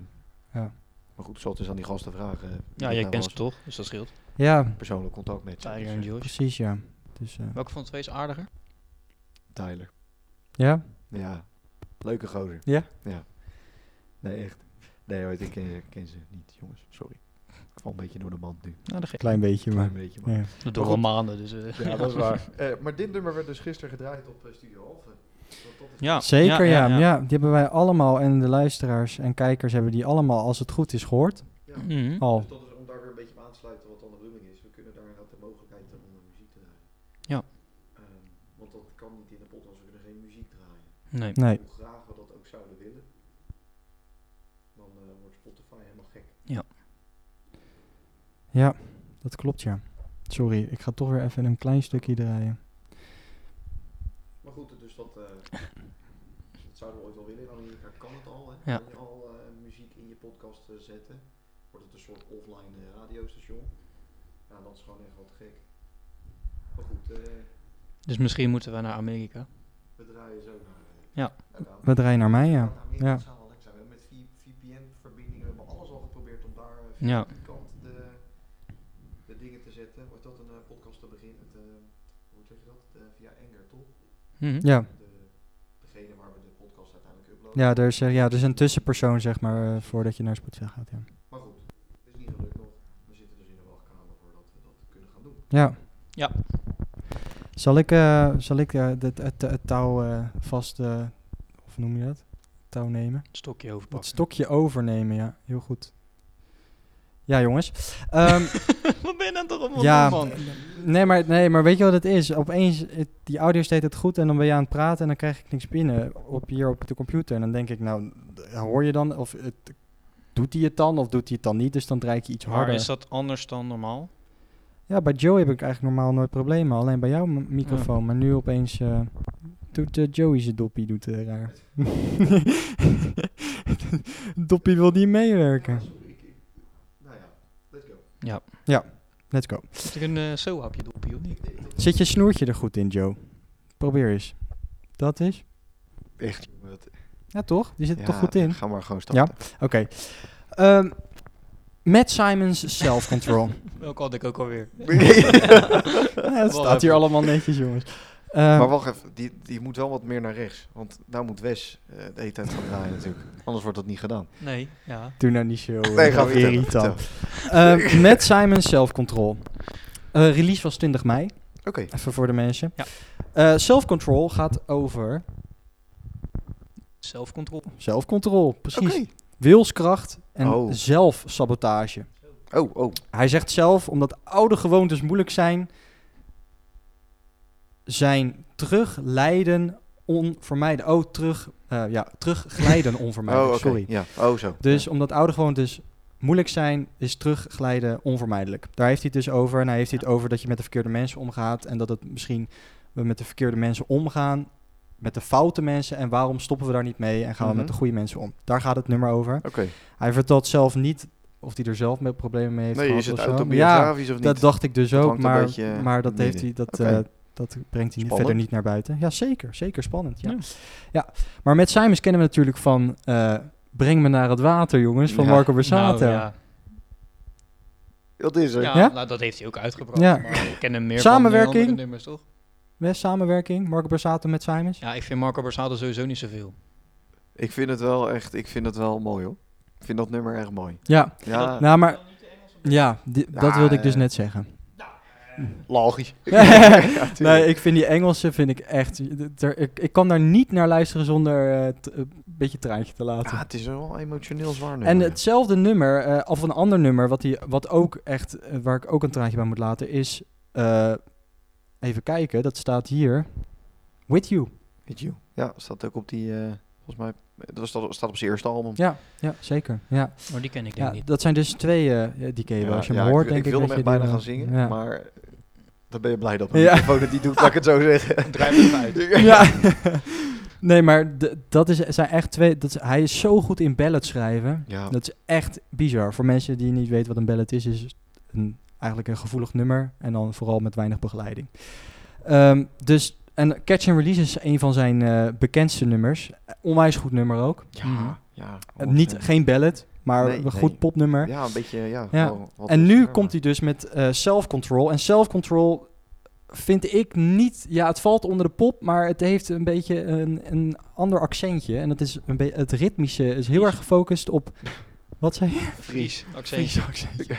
[SPEAKER 1] Ja.
[SPEAKER 2] Maar goed, ik zal het eens aan die gasten vragen. eh, wie
[SPEAKER 3] Ja,
[SPEAKER 2] dat
[SPEAKER 3] jij
[SPEAKER 2] nou
[SPEAKER 3] kent
[SPEAKER 2] was.
[SPEAKER 3] ze toch, dus dat scheelt.
[SPEAKER 1] Ja,
[SPEAKER 2] Persoonlijk contact met ze.
[SPEAKER 3] Tiger
[SPEAKER 2] Dus,
[SPEAKER 3] en
[SPEAKER 2] eh,
[SPEAKER 3] Josh.
[SPEAKER 1] precies ja. Dus, eh,
[SPEAKER 3] Welke van de twee is aardiger?
[SPEAKER 2] Tyler.
[SPEAKER 1] ja?
[SPEAKER 2] Ja, leuke gozer.
[SPEAKER 1] Ja?
[SPEAKER 2] Ja. Nee, echt. Nee, weet ik ken, ken ze niet, jongens. Sorry. Ik val een beetje door de mand nu.
[SPEAKER 3] Nou, dat geeft.
[SPEAKER 1] Klein beetje, maar.
[SPEAKER 2] Een beetje, maar.
[SPEAKER 1] Ja.
[SPEAKER 3] Dat
[SPEAKER 2] Maar
[SPEAKER 3] doen al maanden, dus. eh,
[SPEAKER 2] Ja, dat is waar. Eh, maar dit nummer werd dus gisteren gedraaid op eh, Studio Halve. Dat, dat is
[SPEAKER 3] Ja,
[SPEAKER 1] Zeker ja, ja, Die hebben wij allemaal en de luisteraars en kijkers hebben die allemaal, als het goed is, gehoord.
[SPEAKER 3] Mhm.
[SPEAKER 1] Al.
[SPEAKER 2] Dus dat is om daar weer een beetje op aan te sluiten wat dan de bedoeling is. We kunnen daar inderdaad de mogelijkheid hebben om muziek te draaien.
[SPEAKER 3] Ja.
[SPEAKER 2] Ehm, want dat kan niet in de podcast, we kunnen geen muziek draaien.
[SPEAKER 3] Nee.
[SPEAKER 1] Nee.
[SPEAKER 2] Hoe graag we dat ook zouden willen, dan eh, wordt Spotify helemaal gek.
[SPEAKER 1] Ja, dat klopt ja. Sorry, ik ga toch weer even een klein stukje draaien.
[SPEAKER 2] Maar goed, dus dat, eh, dat zouden we ooit wel willen. In Amerika kan het al, hè?
[SPEAKER 3] Ja.
[SPEAKER 2] Kan je al eh, muziek in je podcast eh, zetten. Wordt het een soort offline eh, radiostation. Ja, dat is gewoon echt wat gek. Maar goed, eh,
[SPEAKER 3] Dus misschien moeten we naar Amerika.
[SPEAKER 2] we draaien zo naar...
[SPEAKER 3] Ja.
[SPEAKER 1] We draaien naar mij ja.
[SPEAKER 2] Amerika
[SPEAKER 1] Ja.
[SPEAKER 2] zou wel lekker zijn. We hebben met VPN-verbindingen hebben we alles al geprobeerd om daar eh,
[SPEAKER 3] Ja.
[SPEAKER 2] via die kant de, de dingen te zetten. Wordt dat een eh, podcast te beginnen? Het, eh, hoe zeg je dat? Eh, via Anger, toch?
[SPEAKER 3] Mhm.
[SPEAKER 1] Ja,
[SPEAKER 2] De, degene waar we de podcast uiteindelijk uploaden.
[SPEAKER 1] ja, er is, eh, ja, er is een tussenpersoon zeg maar eh, voordat je naar Spotify gaat. Ja,
[SPEAKER 2] Maar goed, het is niet gelukt nog. We zitten dus in de wachtkamer voordat we dat kunnen gaan doen.
[SPEAKER 1] ja.
[SPEAKER 3] Ja.
[SPEAKER 1] Zal ik, eh, zal ik eh, dit- het, het touw eh, vast, eh, of noem je dat? Touw nemen?
[SPEAKER 3] Stokje
[SPEAKER 1] Dat
[SPEAKER 3] overpakken.
[SPEAKER 1] stokje overnemen, ja. Heel goed. Ja, jongens. Ehm,
[SPEAKER 3] Wat ben je dan toch allemaal
[SPEAKER 1] ja,
[SPEAKER 3] ja. man?
[SPEAKER 1] nee maar, nee, maar weet je wat het is? Opeens, het- die audio deed het goed en dan ben je aan het praten en dan krijg ik niks binnen op, hier op de computer. En dan denk ik, nou, d- hoor je dan? Of het, doet hij het dan? Of doet hij het dan niet? Dus dan draai ik iets
[SPEAKER 3] Maar
[SPEAKER 1] harder.
[SPEAKER 3] is dat anders dan normaal?
[SPEAKER 1] Ja, bij Joey heb ik eigenlijk normaal nooit problemen. Alleen bij jouw m- microfoon. Maar nu opeens eh, doet eh, Joey zijn doppie doet, eh, raar. doppie wil niet meewerken.
[SPEAKER 3] Ja.
[SPEAKER 1] Let's go.
[SPEAKER 3] Zit er een eh zo hapje dopje of niet?
[SPEAKER 1] Zit je snoertje er goed in, Joe? Probeer eens. Dat is?
[SPEAKER 2] Echt. wat-
[SPEAKER 1] Ja, toch? Die zit er
[SPEAKER 2] Ja,
[SPEAKER 1] toch goed in?
[SPEAKER 2] Ga maar gewoon starten.
[SPEAKER 1] Oké. Ehm, Matt Simons self-control.
[SPEAKER 3] Welke had ik ook alweer.
[SPEAKER 1] ja, het staat hier allemaal netjes, jongens. Ehm,
[SPEAKER 2] Maar wacht even, die, die moet wel wat meer naar rechts. Want nou moet Wes eh, de hele tijd gaan draaien natuurlijk. Anders wordt dat niet gedaan.
[SPEAKER 3] Nee, ja.
[SPEAKER 1] Doe nou niet zo eh,
[SPEAKER 2] Nee, ga vertellen,
[SPEAKER 1] irritant. Ehm, Matt Simons self-control. Eh, release was 20 mei.
[SPEAKER 2] Oké,
[SPEAKER 1] Even voor de mensen.
[SPEAKER 3] Ja.
[SPEAKER 1] Eh, self-control gaat over
[SPEAKER 3] Zelfcontrole.
[SPEAKER 1] zelfcontrole. Precies.
[SPEAKER 2] oké.
[SPEAKER 1] Wilskracht en
[SPEAKER 2] Oh.
[SPEAKER 1] zelfsabotage.
[SPEAKER 2] Oh, oh.
[SPEAKER 1] Hij zegt zelf, omdat oude gewoontes moeilijk zijn, zijn terugleiden onvermijden. Oh, terug, eh, ja, terugglijden onvermijden.
[SPEAKER 2] oh oké.
[SPEAKER 1] Sorry.
[SPEAKER 2] Ja. Oh, zo.
[SPEAKER 1] Dus omdat oude gewoontes moeilijk zijn, is terugglijden onvermijdelijk. Daar heeft hij het dus over. En hij heeft hij het over dat je met de verkeerde mensen omgaat. En dat het misschien we met de verkeerde mensen omgaan. Met de foute mensen. En waarom stoppen we daar niet mee en gaan we
[SPEAKER 2] Mhm.
[SPEAKER 1] met de goede mensen om? Daar gaat het nummer over.
[SPEAKER 2] Oké.
[SPEAKER 1] Hij vertelt zelf niet of hij er zelf met problemen mee heeft
[SPEAKER 2] Nee,
[SPEAKER 1] gehad
[SPEAKER 2] is het
[SPEAKER 1] of zo. Ja,
[SPEAKER 2] autobiografisch of niet?
[SPEAKER 1] dat dacht ik dus ook.
[SPEAKER 2] hangt een
[SPEAKER 1] Maar,
[SPEAKER 2] beetje, eh,
[SPEAKER 1] maar dat, heeft hij,
[SPEAKER 2] midden.
[SPEAKER 1] dat,
[SPEAKER 2] Oké.
[SPEAKER 1] eh, dat brengt hij niet,
[SPEAKER 2] Spannend.
[SPEAKER 1] verder niet naar buiten. Ja, zeker. Zeker spannend. Ja.
[SPEAKER 3] Ja.
[SPEAKER 1] Maar met Simons kennen we natuurlijk van... eh, Breng me naar het water, jongens, van
[SPEAKER 2] Ja.
[SPEAKER 1] Marco Borsato.
[SPEAKER 3] Nou, ja.
[SPEAKER 2] Dat is er.
[SPEAKER 3] Ja,
[SPEAKER 1] Ja?
[SPEAKER 3] Nou, dat heeft hij ook uitgebracht.
[SPEAKER 1] Ja.
[SPEAKER 3] Maar ik ken hem meer
[SPEAKER 1] Samenwerking.
[SPEAKER 3] van eh, andere nummers, toch?
[SPEAKER 1] Met samenwerking, Marco Borsato met Simons.
[SPEAKER 3] Ja, ik vind Marco Borsato sowieso niet zoveel.
[SPEAKER 2] Ik vind het wel echt, ik vind het wel mooi hoor. Ik vind dat nummer erg mooi.
[SPEAKER 1] Ja,
[SPEAKER 2] Ja,
[SPEAKER 1] nou maar... Ja, di- dat wilde ik dus
[SPEAKER 2] eh.
[SPEAKER 1] net zeggen.
[SPEAKER 2] logisch.
[SPEAKER 1] nee, ik vind die Engelse vind ik echt... er- ik, ik kan daar niet naar luisteren zonder eh, t- een beetje traantje te laten.
[SPEAKER 2] Ja, het is wel emotioneel zwaar nummer.
[SPEAKER 1] en hetzelfde nummer, eh, of een ander nummer, wat, die, wat ook echt, eh, waar ik ook een traantje bij moet laten, is... eh, even kijken, dat staat hier. With You.
[SPEAKER 2] Weet je? Ja, staat ook op die, eh, volgens mij, dat was- dat staat op zijn eerste album.
[SPEAKER 1] Ja, ja zeker. Ja.
[SPEAKER 3] Maar die ken ik denk
[SPEAKER 1] Ja,
[SPEAKER 3] ik niet.
[SPEAKER 1] dat zijn dus twee, eh, die ken je wel. Als je hem
[SPEAKER 2] ja,
[SPEAKER 1] hoort,
[SPEAKER 2] ik,
[SPEAKER 1] denk ik
[SPEAKER 2] ik wilde
[SPEAKER 1] dat
[SPEAKER 2] hem
[SPEAKER 1] je
[SPEAKER 2] echt bijna
[SPEAKER 1] die
[SPEAKER 2] gaan
[SPEAKER 1] wel-
[SPEAKER 2] zingen,
[SPEAKER 1] ja.
[SPEAKER 2] maar eh, dan ben je blij dat mijn
[SPEAKER 1] Ja.
[SPEAKER 2] microfoon het niet doet, laat ik het zo zeggen.
[SPEAKER 3] Drijf het uit.
[SPEAKER 1] ja. nee, maar d- dat is, zijn echt twee. Dat is- hij is zo goed in ballad schrijven.
[SPEAKER 2] Ja,
[SPEAKER 1] Dat is echt bizar. Voor mensen die niet weten wat een ballad is, is het een, eigenlijk een gevoelig nummer. En dan vooral met weinig begeleiding. Ehm, dus, en Catch and Release is een van zijn eh, bekendste nummers. Onwijs goed nummer ook.
[SPEAKER 2] ja,
[SPEAKER 3] Mhm.
[SPEAKER 2] Oh, ja.
[SPEAKER 1] Eh, niet, geen ballad, maar
[SPEAKER 2] Nee,
[SPEAKER 1] een goed
[SPEAKER 2] nee.
[SPEAKER 1] popnummer.
[SPEAKER 2] Ja, een beetje, ja.
[SPEAKER 1] Ja.
[SPEAKER 2] wel wat
[SPEAKER 1] En nu
[SPEAKER 2] rustiger,
[SPEAKER 1] komt hij dus met eh self-control. En self-control vind ik niet... Ja, het valt onder de pop, maar het heeft een beetje een, een ander accentje. En dat is een be- het ritmische is heel
[SPEAKER 3] Fries.
[SPEAKER 1] erg gefocust op... Wat zei je?
[SPEAKER 3] Fries. Accent.
[SPEAKER 1] Fries accentje.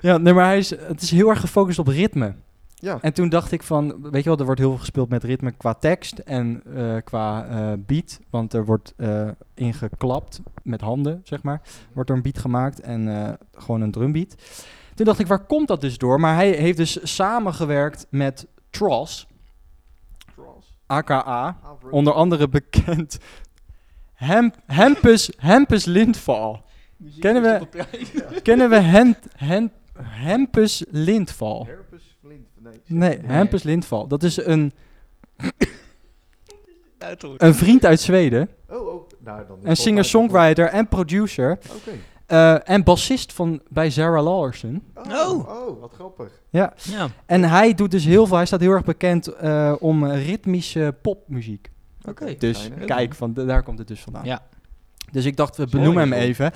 [SPEAKER 1] Ja, nee, maar hij is, het is heel erg gefocust op ritme.
[SPEAKER 2] Ja.
[SPEAKER 1] En toen dacht ik van, weet je wel, er wordt heel veel gespeeld met ritme qua tekst en eh, qua eh, beat. Want er wordt eh, ingeklapt met handen, zeg maar. Wordt er een beat gemaakt en eh, gewoon een drumbeat. Toen dacht ik, waar komt dat dus door? Maar hij heeft dus samengewerkt met Tross, aka, onder andere bekend, Hem, Hempus, Hempus Lindval. Kennen we- Kennen we Hem, Hem, Hempus Lindval?
[SPEAKER 2] Herpes Flint, nee.
[SPEAKER 1] Nee,
[SPEAKER 3] Nee.
[SPEAKER 1] Hempus Lindval. Dat is een,
[SPEAKER 3] Uitroep.
[SPEAKER 1] een vriend uit Zweden.
[SPEAKER 2] Oh, oh. Nou, dan is
[SPEAKER 1] Een
[SPEAKER 2] het altijd
[SPEAKER 1] singer-songwriter en producer.
[SPEAKER 2] nog- Oké.
[SPEAKER 1] eh, en bassist van, bij Sarah Larson.
[SPEAKER 3] Oh.
[SPEAKER 2] oh, wat grappig.
[SPEAKER 1] Ja.
[SPEAKER 3] Ja.
[SPEAKER 1] En hij doet dus heel veel. Hij staat heel erg bekend eh, om eh, ritmische popmuziek.
[SPEAKER 3] Oké.
[SPEAKER 1] Dus
[SPEAKER 2] Fijn, hè?
[SPEAKER 1] kijk, van, da- daar komt het dus vandaan.
[SPEAKER 3] Ja.
[SPEAKER 1] Dus ik dacht, we
[SPEAKER 2] Zo,
[SPEAKER 1] benoemen hem
[SPEAKER 2] heel goed.
[SPEAKER 1] even.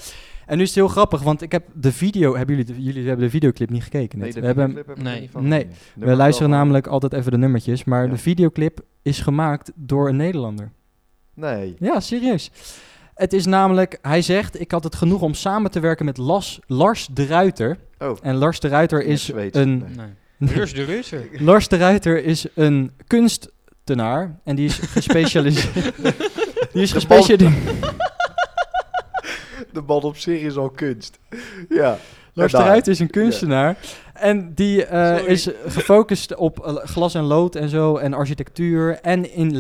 [SPEAKER 1] En nu is het heel grappig, want ik heb de video... Hebben jullie, de, jullie hebben de videoclip niet gekeken? net.
[SPEAKER 2] de
[SPEAKER 1] we, hebben,
[SPEAKER 2] videoclip heb ik
[SPEAKER 3] nee.
[SPEAKER 2] er niet van
[SPEAKER 1] Nee,
[SPEAKER 2] gezien.
[SPEAKER 1] we
[SPEAKER 2] Nummer
[SPEAKER 1] luisteren
[SPEAKER 2] wel.
[SPEAKER 1] namelijk altijd even de nummertjes. Maar
[SPEAKER 2] Ja.
[SPEAKER 1] de videoclip is gemaakt door een Nederlander.
[SPEAKER 2] Nee.
[SPEAKER 1] Ja, serieus. Het is namelijk, hij zegt, ik had het genoeg om samen te werken met Las, Lars de Ruiter.
[SPEAKER 2] Oh.
[SPEAKER 1] En Lars de Ruiter
[SPEAKER 2] Niet
[SPEAKER 1] is
[SPEAKER 2] Zweeds,
[SPEAKER 1] een...
[SPEAKER 2] nee.
[SPEAKER 3] Nee. Rus de Russer.
[SPEAKER 1] Lars de Ruiter is een kunstenaar en die is gespecialiseerd... die is
[SPEAKER 2] De
[SPEAKER 1] gespecialiseerd...
[SPEAKER 2] De man op zich is al kunst. ja.
[SPEAKER 1] Lars de
[SPEAKER 2] Daar.
[SPEAKER 1] Ruiter is een kunstenaar en die eh,
[SPEAKER 3] Sorry.
[SPEAKER 1] is gefocust op eh, glas en lood en zo en architectuur en in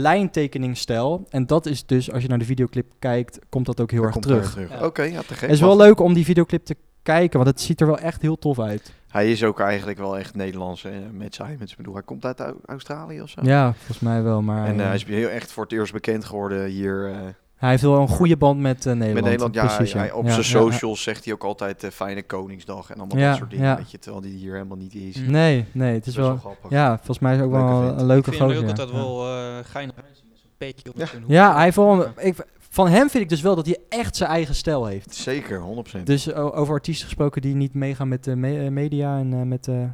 [SPEAKER 1] lijntekeningstijl. En dat is dus, als je naar de videoclip kijkt, komt dat ook heel
[SPEAKER 2] Daar
[SPEAKER 1] erg
[SPEAKER 2] komt
[SPEAKER 1] terug.
[SPEAKER 2] hij terug.
[SPEAKER 3] Ja.
[SPEAKER 2] Oké, ja, te gek.
[SPEAKER 1] Het is wel leuk om die videoclip te kijken, want het ziet er wel echt heel tof uit.
[SPEAKER 2] Hij is ook eigenlijk wel echt Nederlands hè, met Simons. Ik bedoel, hij komt uit Au- Australië of zo.
[SPEAKER 1] Ja, volgens mij wel. Maar
[SPEAKER 2] En eh,
[SPEAKER 1] eh,
[SPEAKER 2] hij is heel echt voor het eerst bekend geworden hier eh,
[SPEAKER 1] hij heeft wel een goede band met eh, Nederland.
[SPEAKER 2] met Nederland. Ja,
[SPEAKER 1] precies,
[SPEAKER 2] hij- op
[SPEAKER 1] Ja,
[SPEAKER 2] zijn
[SPEAKER 1] ja,
[SPEAKER 2] socials zegt hij ook altijd eh, fijne Koningsdag en allemaal
[SPEAKER 1] Ja,
[SPEAKER 2] dat soort dingen.
[SPEAKER 1] ja.
[SPEAKER 2] Weet je, terwijl die hier helemaal niet is.
[SPEAKER 1] ja.
[SPEAKER 3] Mm.
[SPEAKER 1] Nee, nee, het is
[SPEAKER 2] Best
[SPEAKER 1] wel...
[SPEAKER 2] grappig.
[SPEAKER 1] Ja, volgens mij is ook wel
[SPEAKER 2] Leuke
[SPEAKER 1] een-
[SPEAKER 2] vent.
[SPEAKER 1] een leuke
[SPEAKER 3] Ik vind
[SPEAKER 1] gozer.
[SPEAKER 3] hem ook
[SPEAKER 1] ja.
[SPEAKER 3] altijd
[SPEAKER 1] Ja.
[SPEAKER 3] wel eh geinig uitzien. Zo'n petje op
[SPEAKER 2] Ja.
[SPEAKER 3] zijn hoek.
[SPEAKER 1] Ja, hij heeft wel een- ik, van hem vind ik dus wel dat hij echt zijn eigen stijl heeft.
[SPEAKER 2] Zeker, 100%.
[SPEAKER 1] Dus o- over artiesten gesproken die niet meegaan met de me- eh, media en eh, met eh,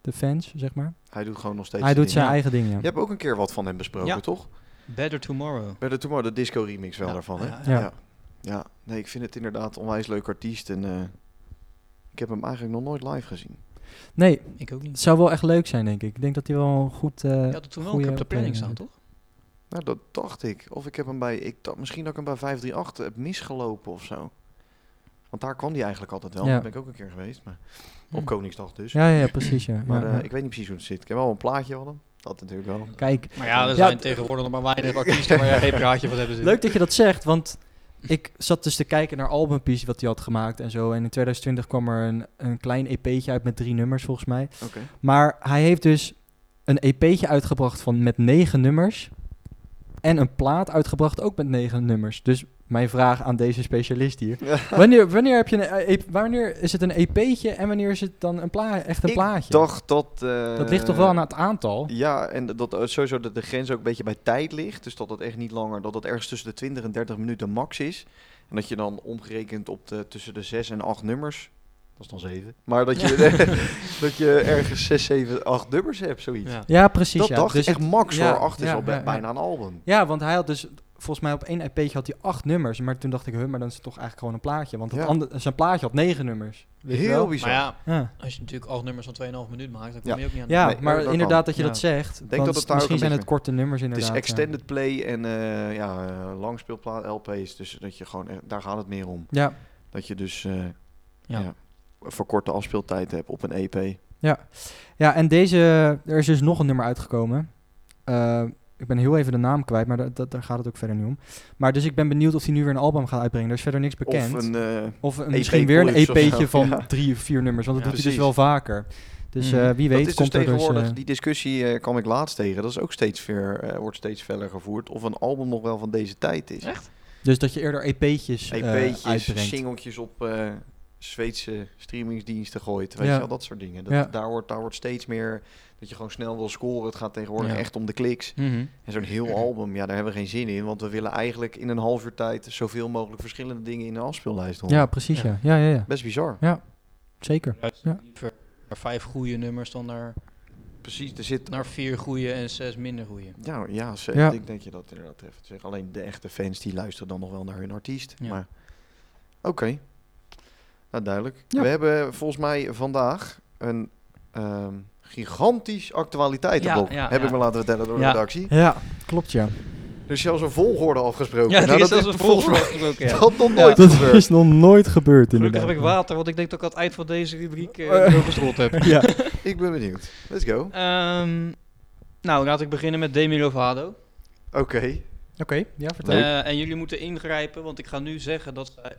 [SPEAKER 1] de fans, zeg maar.
[SPEAKER 2] hij doet gewoon nog steeds
[SPEAKER 1] Hij doet
[SPEAKER 2] dingen.
[SPEAKER 1] zijn eigen dingen.
[SPEAKER 2] Je hebt ook een keer wat van hem besproken,
[SPEAKER 3] Ja.
[SPEAKER 2] toch?
[SPEAKER 3] Better Tomorrow.
[SPEAKER 2] Bij de Tomorrow, de disco remix wel
[SPEAKER 3] Ja,
[SPEAKER 2] daarvan, hè?
[SPEAKER 3] ja,
[SPEAKER 1] ja.
[SPEAKER 2] ja. Ja, nee, ik vind het inderdaad een onwijs leuk artiest. En eh, ik heb hem eigenlijk nog nooit live gezien.
[SPEAKER 1] Nee,
[SPEAKER 3] Ik ook
[SPEAKER 1] het
[SPEAKER 3] niet.
[SPEAKER 1] zou wel echt leuk zijn, denk ik. Ik denk dat hij wel een goed... eh,
[SPEAKER 3] Je had het toen wel een
[SPEAKER 1] goeie
[SPEAKER 3] keer op de planning staan,
[SPEAKER 1] optreden
[SPEAKER 3] toch?
[SPEAKER 2] Nou, dat dacht ik. Of ik heb hem bij... Ik dacht, misschien dat ik hem bij 538 heb misgelopen of zo. Want daar kwam hij eigenlijk altijd wel.
[SPEAKER 1] Ja. Hm.
[SPEAKER 2] Daar ben ik ook een keer geweest. Maar op Koningsdag dus.
[SPEAKER 1] Ja, ja, ja, precies. Ja.
[SPEAKER 2] Maar
[SPEAKER 1] Ja,
[SPEAKER 2] eh,
[SPEAKER 1] ja.
[SPEAKER 2] ik weet niet precies hoe het zit. Ik heb wel een plaatje van hem. Dat natuurlijk wel.
[SPEAKER 1] Kijk,
[SPEAKER 3] Maar ja, er
[SPEAKER 1] Ja,
[SPEAKER 3] zijn
[SPEAKER 1] d-
[SPEAKER 3] tegenwoordig nog maar weinig artiesten waar jij geen praatje van dus- hebben.
[SPEAKER 1] Leuk dat je dat zegt, want ik zat dus te kijken naar albumpiece wat hij had gemaakt en zo. En in 2020 kwam er een, een klein EP'tje uit met drie nummers volgens mij.
[SPEAKER 2] Oké.
[SPEAKER 1] Maar hij heeft dus een EP'tje uitgebracht van met negen nummers. En een plaat uitgebracht ook met negen nummers. Dus mijn vraag aan deze specialist hier. Wanneer, wanneer, heb je een, eh, EP wanneer is het een EP'tje en wanneer is het dan een pla echt een plaatje?
[SPEAKER 2] Ik dacht dat... eh,
[SPEAKER 1] dat ligt toch wel aan het aantal?
[SPEAKER 2] Ja, en dat dat sowieso dat de grens ook een beetje bij tijd ligt. Dus dat het echt niet langer, dat het ergens tussen de 20 en 30 minuten max is. En dat je dan omgerekend op de, tussen de 6 en 8 nummers. Dat is dan 7. Maar dat je, dat je ergens 6, 7, 8 nummers hebt, zoiets.
[SPEAKER 3] Ja.
[SPEAKER 1] Ja, precies.
[SPEAKER 2] dat
[SPEAKER 1] ja.
[SPEAKER 2] dacht
[SPEAKER 1] Dus
[SPEAKER 2] ik echt
[SPEAKER 1] het-
[SPEAKER 2] max
[SPEAKER 1] ja,
[SPEAKER 2] hoor. 8 is
[SPEAKER 1] ja,
[SPEAKER 2] al bij-
[SPEAKER 1] ja, ja.
[SPEAKER 2] bijna een album.
[SPEAKER 1] Ja, want hij had dus volgens mij op één EP'tje had hij acht nummers, maar toen dacht ik, huh, maar dan is het toch eigenlijk gewoon een plaatje, want dat
[SPEAKER 2] Ja.
[SPEAKER 1] ander- zijn plaatje had negen nummers. Weet je
[SPEAKER 2] Heel
[SPEAKER 1] wel?
[SPEAKER 2] bizar.
[SPEAKER 3] Maar ja,
[SPEAKER 1] Ja,
[SPEAKER 3] als je natuurlijk acht nummers van 2,5 minuut maakt, dan kom
[SPEAKER 2] Ja.
[SPEAKER 3] je ook niet aan de
[SPEAKER 1] ja
[SPEAKER 2] Nee,
[SPEAKER 1] maar
[SPEAKER 2] dat kan.
[SPEAKER 1] inderdaad dat je
[SPEAKER 3] Ja.
[SPEAKER 1] dat zegt.
[SPEAKER 2] denk
[SPEAKER 1] want
[SPEAKER 2] dat het daar ook
[SPEAKER 1] misschien
[SPEAKER 2] een
[SPEAKER 1] zijn
[SPEAKER 2] beetje-
[SPEAKER 1] het korte nummers
[SPEAKER 2] het is
[SPEAKER 1] inderdaad.
[SPEAKER 2] extended play en eh ja, eh, langspeelplaat LP's. Dus dat je gewoon, eh, daar gaat het meer om.
[SPEAKER 1] Ja.
[SPEAKER 2] Dat je dus eh
[SPEAKER 3] Ja.
[SPEAKER 2] ja. verkorte afspeeltijd hebt op een E EP.
[SPEAKER 1] ja, en deze, er is dus nog een nummer uitgekomen. Eh, ik ben heel even de naam kwijt, maar da- da- daar gaat het ook verder niet om. Maar dus ik ben benieuwd of hij nu weer een album gaat uitbrengen. Er is verder niks bekend.
[SPEAKER 2] Of een... eh,
[SPEAKER 1] Of een-
[SPEAKER 2] EP
[SPEAKER 1] misschien weer een
[SPEAKER 2] collapse of
[SPEAKER 1] EP'tje
[SPEAKER 2] zo,
[SPEAKER 1] van
[SPEAKER 2] ja.
[SPEAKER 1] drie of vier nummers, want dat
[SPEAKER 3] Ja,
[SPEAKER 1] doet hij dus wel
[SPEAKER 2] precies.
[SPEAKER 1] vaker. Dus eh, wie weet
[SPEAKER 2] dat is
[SPEAKER 1] komt
[SPEAKER 2] dus
[SPEAKER 1] er dus...
[SPEAKER 2] tegenwoordig,
[SPEAKER 1] eh,
[SPEAKER 2] die discussie eh, kwam ik laatst tegen. Dat is ook steeds ver, eh, wordt steeds feller gevoerd. Of een album nog wel van deze tijd is.
[SPEAKER 3] Echt?
[SPEAKER 1] Dus dat je eerder EP'tjes, eh,
[SPEAKER 2] EP'tjes,
[SPEAKER 1] uitbrengt.
[SPEAKER 2] singeltjes op eh, Zweedse streamingsdiensten gooit. Weet
[SPEAKER 1] Ja.
[SPEAKER 2] je wel, dat soort dingen. Dat,
[SPEAKER 1] Ja.
[SPEAKER 2] daar, wordt, daar wordt steeds meer dat je gewoon snel wil scoren. Het gaat tegenwoordig
[SPEAKER 3] Ja.
[SPEAKER 2] echt om de kliks.
[SPEAKER 3] Mhm.
[SPEAKER 2] En zo'n heel album, ja, daar hebben we geen zin in. Want we willen eigenlijk in een half uur tijd zoveel mogelijk verschillende dingen in de afspeellijst horen.
[SPEAKER 1] Ja, precies. Ja. Ja. Ja, ja,
[SPEAKER 2] Best bizar.
[SPEAKER 1] zeker. Ja.
[SPEAKER 3] Liever naar vijf goede nummers dan naar,
[SPEAKER 2] Precies, er zit...
[SPEAKER 3] naar vier goede en zes minder goede.
[SPEAKER 2] Ja, ja, ze-
[SPEAKER 1] Ja.
[SPEAKER 2] ik denk dat je dat inderdaad treft. Zeg, alleen de echte fans die luisteren dan nog wel naar hun artiest.
[SPEAKER 3] Ja.
[SPEAKER 2] Maar oké, nou duidelijk.
[SPEAKER 1] Ja.
[SPEAKER 2] We hebben volgens mij vandaag een ehm, gigantisch actualiteitenblok.
[SPEAKER 3] Ja, ja,
[SPEAKER 2] heb
[SPEAKER 3] ja.
[SPEAKER 2] ik me laten vertellen door
[SPEAKER 3] Ja.
[SPEAKER 2] de redactie.
[SPEAKER 1] Ja, klopt ja.
[SPEAKER 2] Er is zelfs een volgorde afgesproken.
[SPEAKER 3] Ja,
[SPEAKER 2] Nou,
[SPEAKER 3] dat is
[SPEAKER 2] dat
[SPEAKER 3] een
[SPEAKER 2] volgens mij-
[SPEAKER 3] volgorde ook, ja.
[SPEAKER 2] Dat nog nooit
[SPEAKER 1] Dat
[SPEAKER 2] gebeurd.
[SPEAKER 1] is nog nooit gebeurd
[SPEAKER 3] Gelukkig
[SPEAKER 1] inderdaad.
[SPEAKER 3] heb ik water, want ik denk dat ik aan het eind van deze rubriek
[SPEAKER 2] Oh
[SPEAKER 3] eh
[SPEAKER 1] Eh.
[SPEAKER 3] uh, slot heb.
[SPEAKER 1] Ja.
[SPEAKER 2] Ik ben benieuwd. Let's go.
[SPEAKER 3] Ehm, nou, laat ik beginnen met Demi Lovato.
[SPEAKER 2] Oké.
[SPEAKER 1] Oké, ja, vertel.
[SPEAKER 2] Leuk.
[SPEAKER 3] Eh, en jullie moeten ingrijpen, want ik ga nu zeggen dat zij-